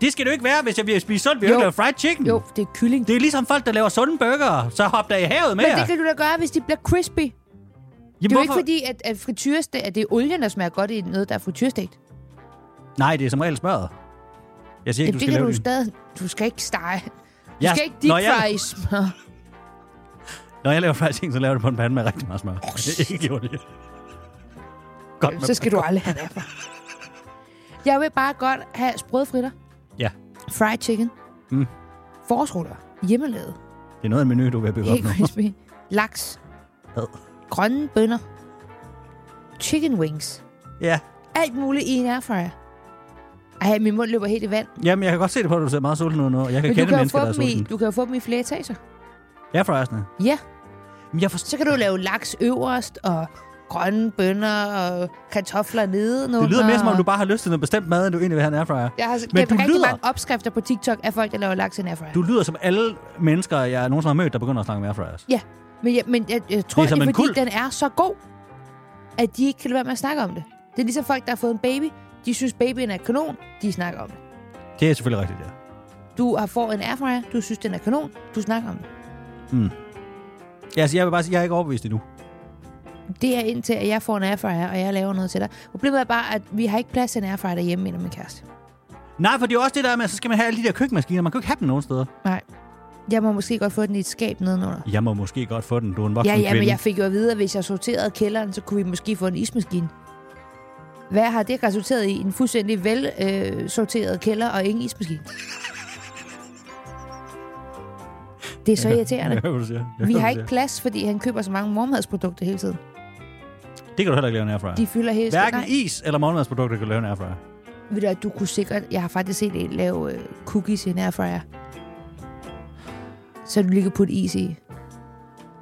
S2: det skal det jo ikke være, hvis jeg vil spise sundt. Vi jo
S3: Jo.
S2: ikke lave fried chicken.
S3: Jo, det er kylling.
S2: Det er ligesom folk, der laver sunde burger, så hop der i havet med
S3: Men
S2: jer.
S3: det kan du da gøre, hvis de bliver crispy. Det
S2: Jamen,
S3: er jo ikke
S2: hvorfor-
S3: fordi, at, at, frityreste, at det er olien, der smager godt i noget, der er frityrestegt.
S2: Nej, det er som regel smørret. Jeg siger ikke, du
S3: Jamen, det
S2: skal
S3: kan
S2: lave
S3: du
S2: det.
S3: stadig... Du skal ikke stege. Du
S2: Jeg-
S3: skal ikke
S2: Når
S3: deep
S2: jeg-
S3: fry i smør.
S2: Når jeg laver fried chicken, så laver jeg det på en pande med rigtig meget smør. <laughs> ikke olie. Godt med
S3: Så skal du aldrig have det herfra. Jeg vil bare godt have sprødfritter,
S2: Ja,
S3: fried chicken, mm. forårsruller, hjemmelavet,
S2: det er noget af en menu, du vil bygge op
S3: helt
S2: nu.
S3: crispy, laks,
S2: Ad.
S3: grønne bønner, chicken wings.
S2: Ja.
S3: Alt muligt i en airfryer. Ej, min mund løber helt i vand.
S2: Jamen, jeg kan godt se det på, at du ser meget sulten ud nu. og Jeg kan
S3: Men du
S2: kende
S3: kan, jo
S2: mennesker,
S3: få
S2: der er
S3: dem i,
S2: sulten.
S3: du kan jo få dem i flere etager.
S2: Ja, forresten.
S3: Ja,
S2: Men jeg forstår...
S3: så kan du lave laks øverst og grønne bønner og kartofler nedenunder.
S2: Det lyder mere, som om
S3: og-
S2: du bare har lyst til noget bestemt mad, end du egentlig vil have en airfryer.
S3: Jeg har
S2: Men
S3: gemt
S2: du
S3: rigtig
S2: lyder,
S3: mange opskrifter på TikTok af folk, der laver laks i en airfryer.
S2: du lyder som alle mennesker, jeg nogensinde har mødt, der begynder at snakke om airfryers.
S3: Ja, men jeg, men jeg, jeg tror,
S2: Det er
S3: det er,
S2: som
S3: det er
S2: en
S3: fordi,
S2: kult.
S3: den er så god, at de ikke kan lade være med at snakke om det. Det er ligesom folk, der har fået en baby. De synes, babyen er kanon. De snakker om det.
S2: Det er selvfølgelig rigtigt, ja.
S3: Du har fået en airfryer. Du synes, den er kanon. Du snakker om det.
S2: Ja, altså, jeg vil bare sige, jeg er ikke overbevist endnu.
S3: Det er indtil, at jeg får en airfryer, og jeg laver noget til dig. Problemet er bare, at vi har ikke plads til en airfryer derhjemme, mener min kæreste.
S2: Nej, for det er jo også det der med, at så skal man have alle de der køkkenmaskiner. Man kan jo ikke have dem nogen steder.
S3: Nej. Jeg må måske godt få den i et skab nedenunder.
S2: Jeg må måske godt få den. Du er en voksen
S3: Ja, ja, men
S2: kvinde. <laughs>
S3: jeg fik jo at vide, at hvis jeg sorterede kælderen, så kunne vi måske få en ismaskine. Hvad har det resulteret i? En fuldstændig velsorteret øh, sorteret kælder og ingen ismaskine. Det er så irriterende.
S2: Jeg hører, hvad du siger. Jeg
S3: Vi
S2: hører,
S3: har
S2: hvad
S3: ikke
S2: du
S3: plads, fordi han køber så mange morgenmadsprodukter hele tiden.
S2: siger. Det kan du heller ikke lave en airfryer.
S3: De fylder hele
S2: Hverken
S3: tiden.
S2: is eller morgenmadsprodukter kan du lave en airfryer.
S3: Ved du, hvad, du kunne sikkert... Jeg har faktisk set en lave øh, cookies i en airfryer. Så du lige kan putte is i.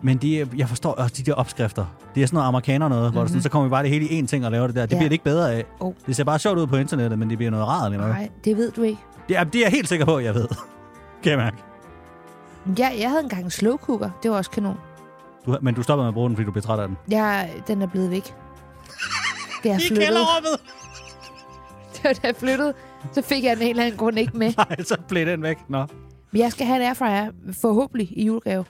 S2: Men de, jeg forstår også de der opskrifter. Det er sådan noget amerikaner noget, mm-hmm. hvor det sådan, så kommer vi bare det hele i én ting og laver det der. Det
S3: Mhm. Ja.
S2: bliver det ikke bedre af.
S3: Oh.
S2: Det ser bare sjovt ud på internettet, men det bliver noget rart eller noget.
S3: Nej, det ved du ikke.
S2: Det, er, det er jeg helt sikker på, jeg ved. <laughs> kan jeg mærke.
S3: Jeg, jeg havde engang en slow cooker. Det var også kanon.
S2: Du, har- men du stopper med at bruge den, fordi du bliver træt af den.
S3: Jeg, den er blevet væk. Det er flyttet. <laughs> Det var da jeg flyttede. Så fik jeg den en eller anden grund ikke med.
S2: <laughs> Nej, så blev den væk. Nå.
S3: Men jeg skal have en airfryer, forhåbentlig, i julegave.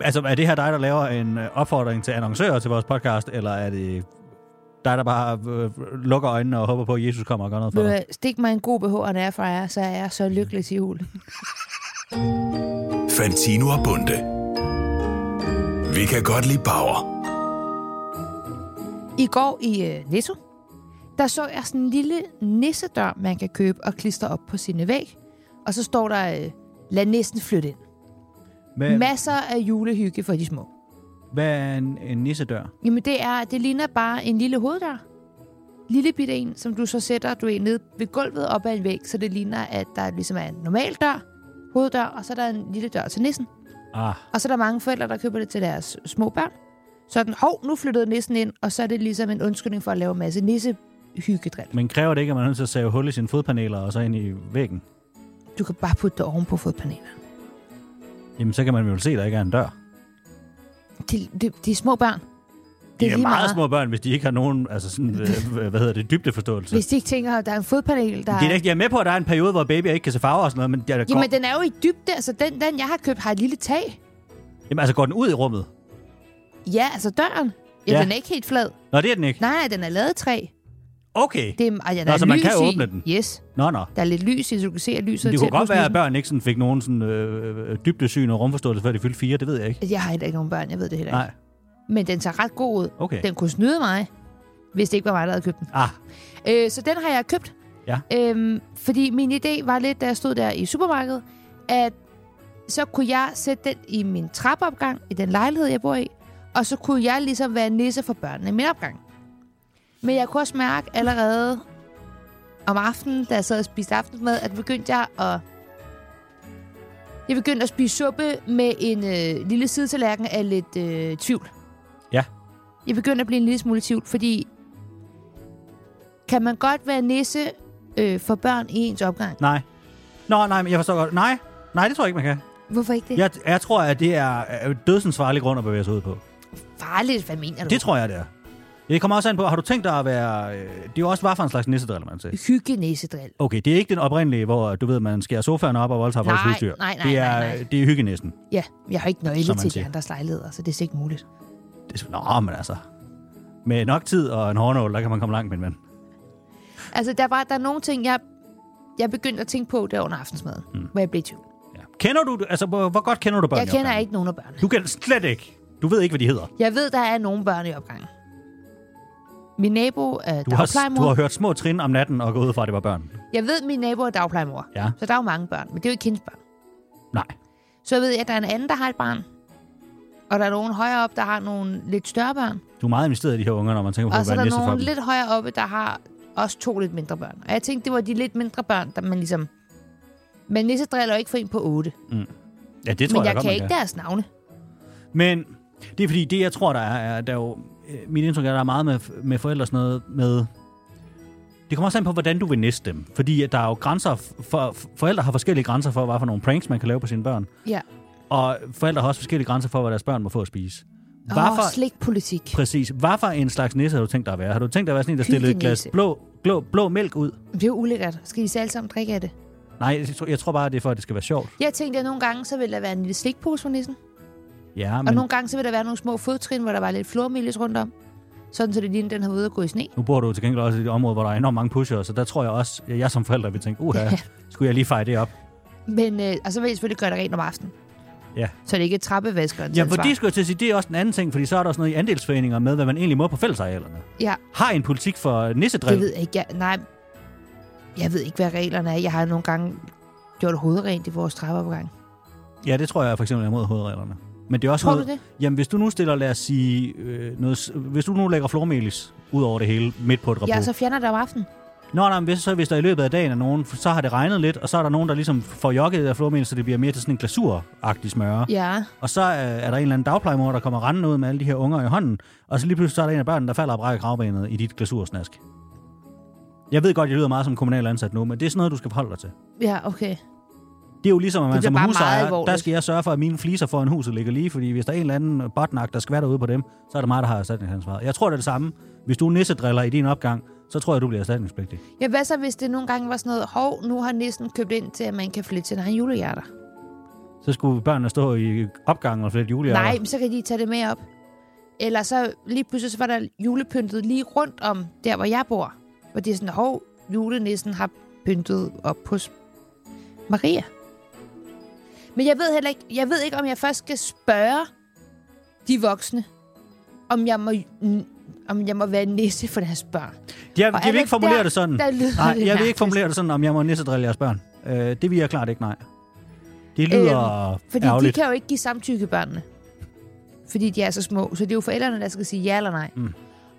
S2: Altså, er det her dig, der laver en øh, opfordring til annoncører til vores podcast, eller er det dig, der bare øh, lukker øjnene og håber på, at Jesus kommer og gør noget for
S3: Ved du
S2: dig?
S3: hvad, Stik mig en god BH og en airfryer, så er jeg så lykkelig til jul.
S1: Fantino og Bunde. Vi kan godt lide Bauer.
S3: I går i øh, Netto, der så jeg sådan en lille nissedør, man kan købe og klistre op på sine væg. Og så står der, øh, lad næsten flytte ind.
S2: Hvad,
S3: Masser af julehygge for de små.
S2: hvad er en, en nissedør?
S3: Jamen, det, er, det ligner bare en lille hoveddør. Lille bitte en, som du så sætter du er ned ved gulvet op ad en væg, så det ligner, at der ligesom er en normal dør, hoveddør, og så er der en lille dør til nissen.
S2: Ah,
S3: Og så er der mange forældre, der køber det til deres små børn. Så er den, hov, nu flyttede nissen ind, og så er det ligesom en undskyldning for at lave en masse nisse hyggedril.
S2: men kræver det ikke, at man er nødt til at save hul i sine fodpaneler og så ind i væggen?
S3: Du kan bare putte det oven på fodpanelerne.
S2: Jamen, så kan man jo se, at der ikke er en dør.
S3: De, de, de er små børn.
S2: Det er, de er meget, små børn, hvis de ikke har nogen, altså sådan,
S3: <laughs>
S2: øh, hvad hedder det, dybdeforståelse.
S3: Hvis de ikke tænker, at der er en fodpanel, der
S2: Det er da ikke, jeg er med på, at der er en periode, hvor babyer ikke kan se farver og sådan noget, men der, der
S3: Jamen,
S2: går,
S3: den er jo i dybde. Altså, den, den, jeg har købt, har et lille tag.
S2: jamen, altså går den ud i rummet?
S3: Ja, altså døren. Ja,
S2: Ja.
S3: ja. den er ikke helt flad.
S2: Nå, det er den ikke.
S3: Nej, nej, den er lavet af træ.
S2: Okay.
S3: Det er, og ja, der
S2: Nå,
S3: er
S2: så man
S3: lys
S2: kan
S3: i.
S2: åbne den.
S3: Yes,
S2: Nå, nå.
S3: der er lidt lys i, så du kan se, at lyset
S2: Det
S3: er
S2: kunne
S3: tæt på
S2: godt være, at
S3: snuden.
S2: børn ikke sådan fik nogen sådan, øh, øh, dybdesyn og rumforståelse, før de fyldte fire. Det ved jeg ikke.
S3: Jeg har heller ikke nogen børn, jeg ved det heller ikke.
S2: Nej,
S3: Men den ser ret god ud.
S2: okay.
S3: Den kunne snyde mig, hvis det ikke var mig, der havde købt den.
S2: Ah,
S3: Øh, så den har jeg købt.
S2: Ja.
S3: Øhm, fordi min idé var lidt, da jeg stod der i supermarkedet, at så kunne jeg sætte den i min trappeopgang, i den lejlighed, jeg bor i, og så kunne jeg ligesom være nisse for børnene i min opgang. Men jeg kunne også mærke allerede om aftenen, da jeg sad og spiste aftensmad, at begyndte jeg at... Jeg begyndte at spise suppe med en øh, lille sidetallerken af lidt øh, tvivl.
S2: Ja.
S3: Jeg begyndte at blive en lille smule i tvivl, fordi... Kan man godt være nisse øh, for børn i ens opgang?
S2: Nej. Nå, nej, men jeg forstår godt. Nej, nej, det tror jeg ikke, man kan.
S3: Hvorfor ikke det?
S2: Jeg, jeg tror, at det er øh, dødsensfarlig grund at bevæge sig ud på.
S3: Farligt, hvad mener du?
S2: Det tror jeg, det er. Det kommer også an på, har du tænkt dig at være... Øh, det er jo også, hvad for en slags nissedriller, man til.
S3: Hyggenæsedril.
S2: Okay, det er ikke den oprindelige, hvor du ved, man skærer sofaen op og voldtager folks
S3: Nej,
S2: husdyr.
S3: nej, nej,
S2: det er,
S3: nej, nej.
S2: Det er hyggenæsten.
S3: Ja, jeg har ikke nøgle
S2: Som man
S3: til de
S2: siger.
S3: andres lejligheder, så det er slet ikke muligt.
S2: Det er, sådan, Nå, men altså... Med nok tid og en hårnål, der kan man komme langt, min ven.
S3: Altså, der var der er nogle ting, jeg, jeg begyndte at tænke på der under aftensmaden, mm. hvor jeg blev i tvivl.
S2: Ja. Kender du... Altså, hvor, hvor godt kender du børn
S3: Jeg
S2: i
S3: kender
S2: opgangen?
S3: ikke nogen af børnene.
S2: Du kan slet ikke. Du ved ikke, hvad de hedder.
S3: Jeg ved, der er nogle børn i opgangen. Min nabo er
S2: Du har,
S3: dagplejemor.
S2: du har hørt små trin om natten og gået ud fra, at det var børn.
S3: Jeg ved, min nabo er dagplejemor.
S2: Ja.
S3: Så der er jo mange børn, men det er jo ikke hendes børn.
S2: Nej.
S3: Så jeg ved, at der er en anden, der har et barn. Og der er nogen højere op, der har nogle lidt større børn.
S2: Du er meget investeret i de her unger, når man tænker på,
S3: Og
S2: at
S3: så er
S2: være
S3: der
S2: næste for
S3: nogen
S2: dem.
S3: lidt højere oppe, der har også to lidt mindre børn. Og jeg tænkte, det var de lidt mindre børn, der man ligesom... Men Nisse driller jo ikke for en på otte.
S2: Ja, det tror jeg,
S3: Men jeg
S2: godt,
S3: kan
S2: man
S3: ikke
S2: kan.
S3: deres navne.
S2: Men det er fordi, det jeg tror, der er, er der er jo... øh, Mit indtryk er, der er meget med, med forældre sådan noget med... Det kommer også an på, hvordan du vil næste dem. Fordi at der er jo grænser... For, for, forældre har forskellige grænser for, hvad for nogle pranks, man kan lave på sine børn.
S3: Ja.
S2: Og forældre har også forskellige grænser for, hvad deres børn må få at spise. Hvad
S3: Åh,
S2: for-
S3: slikpolitik.
S2: Præcis. Hvad for en slags nisse har du tænkt dig at være? Har du tænkt dig at være sådan en, der stillede et glas
S3: Hyggenisse.
S2: blå, blå, blå mælk ud?
S3: Det er jo ulækkert. Skal de så alle sammen drikke af det?
S2: Nej, jeg tror, jeg tror bare, det er for, at det skal være sjovt.
S3: Jeg tænkte, at nogle gange, så ville der være en lille slikpose for nissen. Men...
S2: Ja,
S3: Og
S2: men
S3: nogle gange, så ville der være nogle små fodtrin, hvor der var lidt flormilis rundt om. Sådan, så det lignede, den har været ude at gå i sne.
S2: nu bor du til gengæld også i et område, hvor der er enormt mange pushere, så der tror jeg også, at jeg som forælder vil tænke, uha, skulle jeg lige feje det op?
S3: Men, øh, og så vil jeg selvfølgelig gøre det rent om aftenen.
S2: Ja.
S3: Så det ikke er trappevaskeren.
S2: Ja, for det skulle jeg til at sige, det er også en anden ting, fordi så er der også noget i andelsforeninger med, hvad man egentlig må på fællesarealerne.
S3: Ja,
S2: Har I en politik for nissedrill?
S3: det ved jeg ikke. Jeg, nej, jeg ved ikke, hvad reglerne er. Jeg har nogle gange gjort hovedet rent i vores trappeopgang.
S2: Ja, det tror jeg for eksempel er imod hovedreglerne. Men det er også
S3: Tror du
S2: noget,
S3: det?
S2: Jamen, hvis du nu stiller, lad os sige, øh, noget, s- hvis du nu lægger flormelis ud over det hele midt på et rapport.
S3: Ja, så fjerner der om aftenen.
S2: Nå, nej, men hvis, så, hvis der i løbet af dagen er nogen, så har det regnet lidt, og så er der nogen, der ligesom får jokket af flormel, så det bliver mere til sådan en glasuragtig smøre. Ja.
S3: Ja.
S2: Og så øh, er der en eller anden dagplejemor, der kommer rendende ud med alle de her unger i hånden, og så lige pludselig så er der en af børnene, der falder og brækker kravbenet i dit glasursnask. Jeg ved godt, jeg lyder meget som kommunal ansat nu, men det er sådan noget, du skal forholde dig til.
S3: Ja, okay.
S2: Det er jo ligesom, at man
S3: bliver
S2: som
S3: bare meget
S2: husejer,
S3: alvorligt.
S2: der skal jeg sørge for, at mine fliser foran huset ligger lige, fordi hvis der er en eller anden botnak, der skvatter ude på dem, så er det mig, der har erstatningsansvaret. Jeg tror, det er det samme. Hvis du nissedriller i din opgang, så tror jeg, du bliver erstatningspligtig.
S3: Ja, hvad så, hvis det nogle gange var sådan noget, hov, nu har næsten købt ind til, at man kan flytte sine egne julehjerter.
S2: Så skulle børnene stå i opgangen og flette julehjerter.
S3: Nej, men så kan de tage det med op. Eller så lige pludselig, så var der julepyntet lige rundt om der, hvor jeg bor. Hvor det er sådan, hov, julenissen har pyntet op hos Maria. Men jeg ved heller ikke, jeg ved ikke, om jeg først skal spørge de voksne, om jeg må, mm, om jeg må være nisse for deres børn.
S2: Jeg,
S3: Og
S2: jeg vil
S3: er
S2: ikke
S3: det
S2: formulere
S3: der-
S2: det sådan.
S3: der lyder
S2: nej,
S3: det
S2: jeg vil
S3: mærkeligt?
S2: ikke formulere det sådan, om jeg må nissedrille jeres børn. Øh, det vil jeg klart ikke, nej. Det lyder øhm,
S3: Fordi
S2: ærgerligt.
S3: de kan jo ikke give samtykke børnene. Fordi de er så små. Så det er jo forældrene, der skal sige ja eller nej. Mm.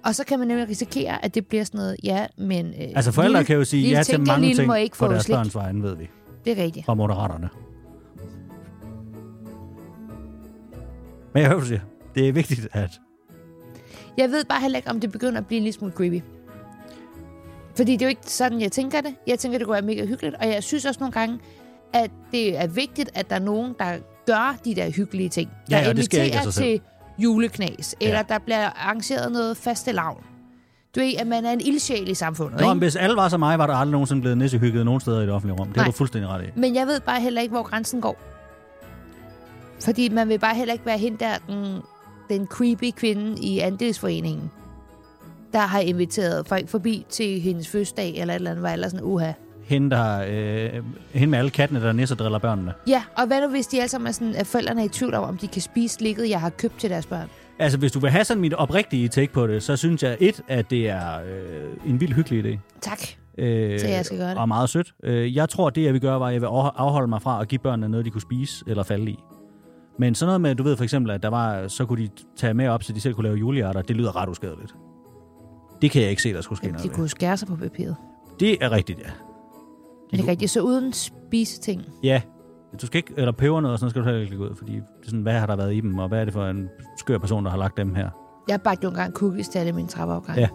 S3: Og så kan man nemlig risikere, at det bliver sådan noget, ja, men... Øh,
S2: Altså forældre
S3: lille-
S2: kan jo sige
S3: lille
S2: ja til
S3: Tinka
S2: mange
S3: Lille
S2: ting
S3: må ikke
S2: på
S3: få
S2: deres
S3: slik.
S2: børns vegne, ved vi.
S3: Det er rigtigt.
S2: Fra moderaterne. Men jeg hører, hvad du siger. Det er vigtigt, at...
S3: Jeg ved bare heller ikke, om det begynder at blive en lille smule creepy. Fordi det er jo ikke sådan, jeg tænker det. Jeg tænker, det kunne være mega hyggeligt. Og jeg synes også nogle gange, at det er vigtigt, at der er nogen, der gør de der hyggelige ting.
S2: Ja,
S3: Der
S2: ja, det sker ikke af
S3: inviterer
S2: sig selv.
S3: til juleknas. Eller
S2: Ja.
S3: der bliver arrangeret noget faste lavn. Du ved, at man er en ildsjæl i samfundet.
S2: Nå,
S3: ikke?
S2: men hvis alle var som mig, var der aldrig nogensinde blevet nissehygget nogen steder i det offentlige rum. Det er
S3: Nej.
S2: du fuldstændig ret i.
S3: Men jeg ved bare heller ikke, hvor grænsen går. Fordi man vil bare heller ikke være hende der, den, den creepy kvinde i andelsforeningen, der har inviteret folk forbi til hendes fødselsdag eller et eller andet, var eller sådan, uha.
S2: Hende, der, øh, hende med alle kattene, der nissedriller børnene.
S3: Ja, og hvad nu hvis de alle sammen er sådan, at forældrene er i tvivl om, om de kan spise ligget, jeg har købt til deres børn?
S2: Altså, hvis du vil have sådan mit oprigtige take på det, så synes jeg et, at det er øh, en vild hyggelig idé.
S3: Tak.
S2: Øh,
S3: Så jeg skal gøre det. altså
S2: Og meget sødt. Øh, jeg tror, det jeg vil gøre, var, at jeg vil afho- afholde mig fra at give børnene noget, de kunne spise eller falde i. Men sådan noget med, du ved for eksempel, at der var, så kunne de tage med op, så de selv kunne lave julearter, det lyder ret uskadeligt. Det kan jeg ikke se, der skulle ske
S3: Jamen,
S2: noget
S3: de
S2: ved.
S3: kunne skære sig på papiret.
S2: Det er rigtigt, ja.
S3: Men det er rigtigt, så uden spiseting.
S2: Ja. Du skal ikke, eller peber noget, og sådan noget skal du heller ikke lægge ud, fordi det er sådan, hvad har der været i dem, og hvad er det for en skør person, der har lagt dem her?
S3: Jeg bagte jo engang cookies til alle mine trappeafgange.
S2: Ja.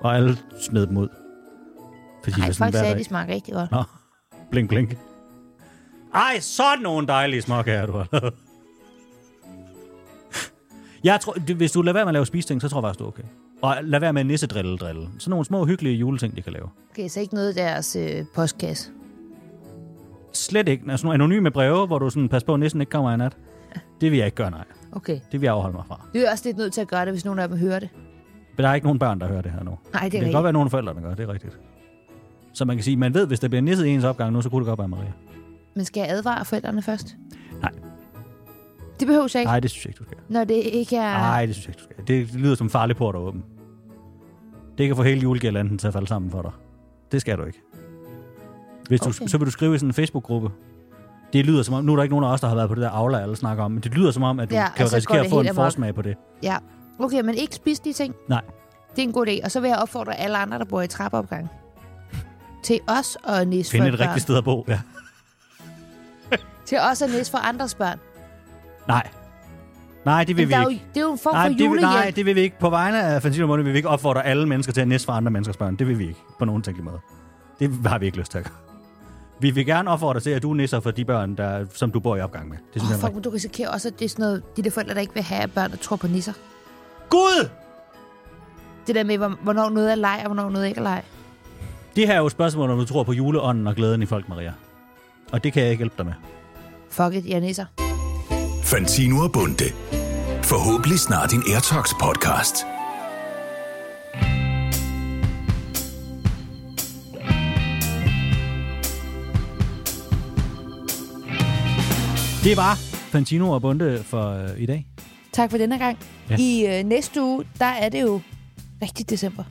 S2: Og alle smed dem ud. Fordi
S3: Nej,
S2: var
S3: folk sagde,
S2: hver
S3: at
S2: dag.
S3: de smager rigtig godt.
S2: Nå, blink, blink. Ej, sådan nogle dejlige småkager, du har lavet. Jeg tror, du- hvis du lader være med at lave spiseting, så tror jeg faktisk, du er okay. Og lad være med at nissedrille drille. Sådan nogle små, hyggelige juleting, de kan lave.
S3: Okay, så ikke noget af deres øh, postkasse.
S2: Slet ikke. Altså nogle anonyme breve, hvor du sådan, pas på, at nissen ikke kommer i nat. Det vil jeg ikke gøre, nej.
S3: Okay.
S2: Det vil jeg afholde mig fra.
S3: Vi er også lidt nødt til at gøre det, hvis nogen af dem hører det.
S2: Men der er ikke nogen børn, der hører det her nu.
S3: Nej, det er
S2: det kan
S3: rigtigt.
S2: godt være, at nogle forældre, der gør det, er rigtigt. Så man kan sige, man ved, hvis der bliver nisset i ens opgang nu, så kunne det godt være Maria.
S3: Men skal jeg advare forældrene først?
S2: Nej.
S3: Det behøver jeg ikke,
S2: Nej, det synes jeg ikke, du skal.
S3: når det ikke er...
S2: Nej, det synes jeg ikke, du skal. Det lyder som en farlig port at åbne. Det kan få hele julegirlanden til at falde sammen for dig. Det skal du ikke. Hvis okay.
S3: Okay.
S2: du, så vil du skrive i sådan en Facebook-gruppe. Det lyder som om, nu er der ikke nogen af os, der har været på det der Aula, alle snakker om, men det lyder som om, at du
S3: Ja,
S2: ja,
S3: og
S2: kan
S3: så går
S2: risikere at
S3: det
S2: få
S3: helt
S2: en
S3: amok.
S2: forsmag på det.
S3: Ja. Okay, men ikke spise de ting.
S2: Nej,
S3: Det er en god idé. Og så vil jeg opfordre alle andre, der bor i trappeopgang, til os og næse
S2: finde
S3: for
S2: et
S3: børn.
S2: rigtigt sted at bo. Ja.
S3: Til os og næse for andres børn.
S2: Nej. Nej, det vil
S3: Men
S2: vi
S3: der er
S2: ikke.
S3: jo, det er jo en form
S2: Nej,
S3: for
S2: det, vil-
S3: julehjælp.
S2: nej, det vil vi ikke. På vegne af Fantino Måne vil vi ikke opfordre alle mennesker til at næste for andre menneskers børn. Det vil vi ikke, på nogen tænkelig måde. Det har vi ikke lyst til at gøre. Vi vil gerne opfordre til, at du nisser for de børn, der, som du bor i opgang med. Det synes
S3: Åh,
S2: oh, jeg
S3: fuck,
S2: er
S3: men du risikerer også, at det er sådan noget, de der forældre, der ikke vil have at børn, der tror på nisser.
S2: rigtigt. Gud!
S3: Det der med, hvor- hvornår noget er leg, og hvornår noget ikke er leg.
S2: Det her er jo et spørgsmål, om du tror på juleånden og glæden i folk, Maria. Og det kan jeg ikke hjælpe dig med.
S3: Fuck it, jeg er nisser.
S1: Fantino og Bunde. Forhåbentlig snart en Airtox podcast.
S2: Det var Fantino og Bunde for øh, i dag.
S3: Tak for denne gang.
S2: Ja.
S3: Ja. I øh, næste uge, der er det jo rigtig december.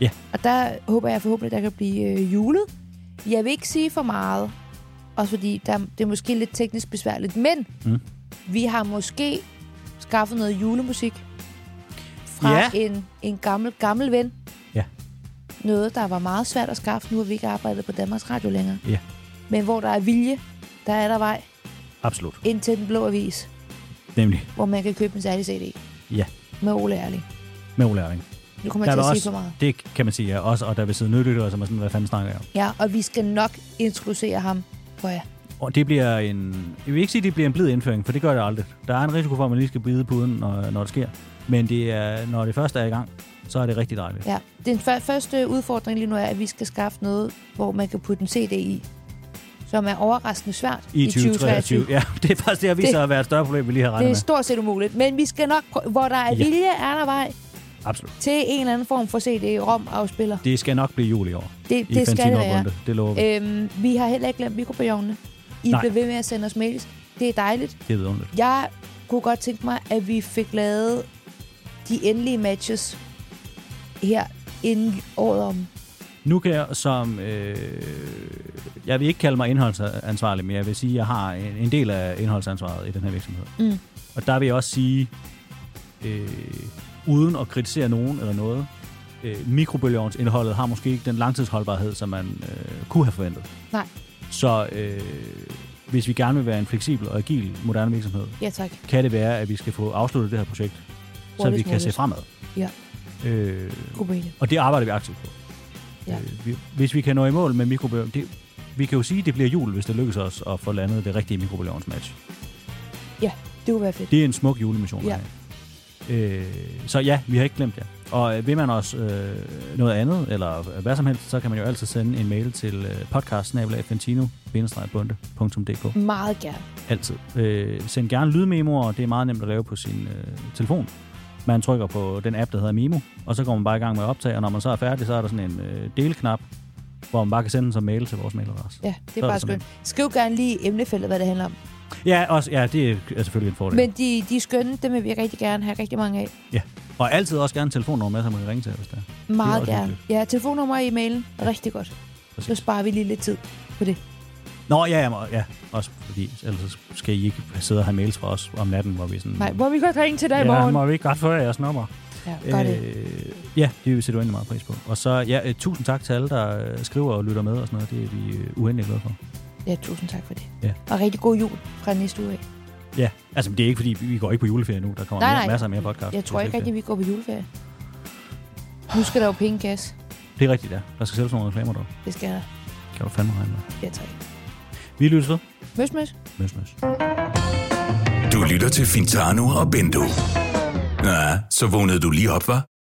S2: Ja.
S3: Og der håber jeg forhåbentlig, der kan blive øh, julet. Jeg vil ikke sige for meget, også fordi der, det er måske lidt teknisk besværligt, men
S2: Mm.
S3: mm. vi har måske skaffet noget julemusik fra
S2: Ja.
S3: ja. en, en gammel, gammel ven.
S2: Ja.
S3: Noget, der var meget svært at skaffe, nu har vi ikke arbejdet på Danmarks Radio længere.
S2: Ja.
S3: Men hvor der er vilje, der er der vej
S2: Absolut.
S3: ind til den blå avis,
S2: Nemlig.
S3: hvor man kan købe en særlig CD
S2: Ja,
S3: med Ole Erling.
S2: med Ole Erling.
S3: Nu kommer
S2: Der
S3: jeg
S2: er
S3: til
S2: der
S3: at sige
S2: også,
S3: for meget.
S2: det kan man sige, ja, også, og der vil sidde nødlyttere, som er sådan, hvad fanden snakker jeg om?
S3: Ja, og vi skal nok introducere ham for jer.
S2: Og det bliver en... Jeg vil ikke sige, at det bliver en blid indføring, for det gør det aldrig. Der er en risiko for, at man lige skal bide puden, når, når det sker. Men det er, når det først er i gang, så er det rigtig dejligt.
S3: Ja. Den før- første udfordring lige nu er, at vi skal skaffe noget, hvor man kan putte en CD i, som er overraskende svært
S2: I 2023. Ja, det er faktisk det, jeg viser
S3: Det-
S2: at være et større problem, vi lige har
S3: Det er
S2: regnet med.
S3: stort set umuligt, men vi skal nok prøve, hvor der er
S2: Ja.
S3: ja. vilje, er der vej
S2: Absolut.
S3: til en eller anden form for CD-rom-afspiller.
S2: Det skal nok blive jul i år.
S3: Det,
S2: I
S3: det skal det
S2: Fantino
S3: være.
S2: Bunde. Det lover vi.
S3: Øhm, vi har heller ikke glemt mikrobionene. I
S2: Nej.
S3: bliver ved med at sende os mails. Det er dejligt.
S2: Det er vidunderligt.
S3: Jeg kunne godt tænke mig, at vi fik lavet de endelige matches her inden året om.
S2: Nu kan jeg som... Øh, jeg vil ikke kalde mig indholdsansvarlig, men jeg vil sige, at jeg har en, en del af indholdsansvaret i den her virksomhed.
S3: Mm.
S2: Og der vil jeg også sige, øh, uden at kritisere nogen eller noget, øh, mikrobølgeovnsindholdet har måske ikke den langtidsholdbarhed, som man øh, kunne have forventet.
S3: Nej.
S2: Så øh, hvis vi gerne vil være en fleksibel og agil moderne virksomhed,
S3: Ja, tak.
S2: kan det være, at vi skal få afsluttet det her projekt, så vi
S3: Hurtigst
S2: kan se
S3: muligt.
S2: fremad.
S3: Ja.
S2: Øh,
S3: God mening.
S2: og det arbejder vi aktivt på.
S3: Ja.
S2: Øh, vi, hvis vi kan nå i mål med mikrobølgen... Det, vi kan jo sige, at det bliver jul, hvis det lykkes os at få landet det rigtige mikrobølgeovnsmatch.
S3: Ja, det kunne være fedt.
S2: Det er en smuk julemission.
S3: Ja.
S2: Ja. Øh, så ja, vi har ikke glemt jer. Og øh, vil man også øh, noget andet, eller øh, hvad som helst, så kan man jo altid sende en mail til øh, podcast-fantino-bunde.dk.
S3: Meget gerne.
S2: Altid. Øh, send gerne lydmemoer, det er meget nemt at lave på sin øh, telefon. Man trykker på den app, der hedder Mimo, og så går man bare i gang med at optage, og når man så er færdig, så er der sådan en øh, delknap, hvor man bare kan sende den som mail til vores mailadresse.
S3: Ja, det
S2: Så
S3: er
S2: er
S3: bare
S2: det sådan
S3: skønt. Skriv gerne lige i emnefeltet, hvad det handler om.
S2: Ja, også, ja det er selvfølgelig en fordel.
S3: Men de, de er skønne, dem vil vi rigtig gerne have rigtig mange af.
S2: Ja. Og altid også gerne telefonnummer med, så man kan ringe til, hvis det er.
S3: Meget
S2: også
S3: gerne. Ja, telefonnummer i mailen. Rigtig godt. Så
S2: Præcis. Mm.
S3: sparer vi lige lidt tid på det.
S2: Nå, ja, ja, må- ja. Også fordi, ellers så skal I ikke sidde og have mails fra os om natten, hvor vi sådan...
S3: Nej, må vi godt ringe til dig i
S2: ja,
S3: morgen?
S2: må Øh. vi ikke godt få jeres nummer?
S3: Ja, gør det.
S2: ja, det vil vi sætte uendelig meget pris på. Og så, ja, øh, tusind tak til alle, der øh, skriver og lytter med og sådan noget. Det er vi øh, uendelig glade for.
S3: Ja, tusind tak for det.
S2: Ja.
S3: Og rigtig god jul fra næste uge af.
S2: Ja, altså men det er ikke fordi, vi vi går ikke på juleferie nu. Der kommer
S3: Nej,
S2: mere,
S3: nej.
S2: masser af mere podcast.
S3: Jeg tror
S2: Det er
S3: ikke
S2: slet
S3: rigtig, vi går på juleferie. Nu skal der jo penge i gas.
S2: det. Det er rigtigt, ja. Der skal sælges nogle reklamer dog.
S3: Det skal der.
S2: Kan du fandme regne med.
S3: Ja, tak.
S2: Vi lyttes ved.
S3: Møs, møs.
S2: Møs, møs.
S1: Du lytter til Fintano og Bendo. Ja, så vågnede du lige op, var?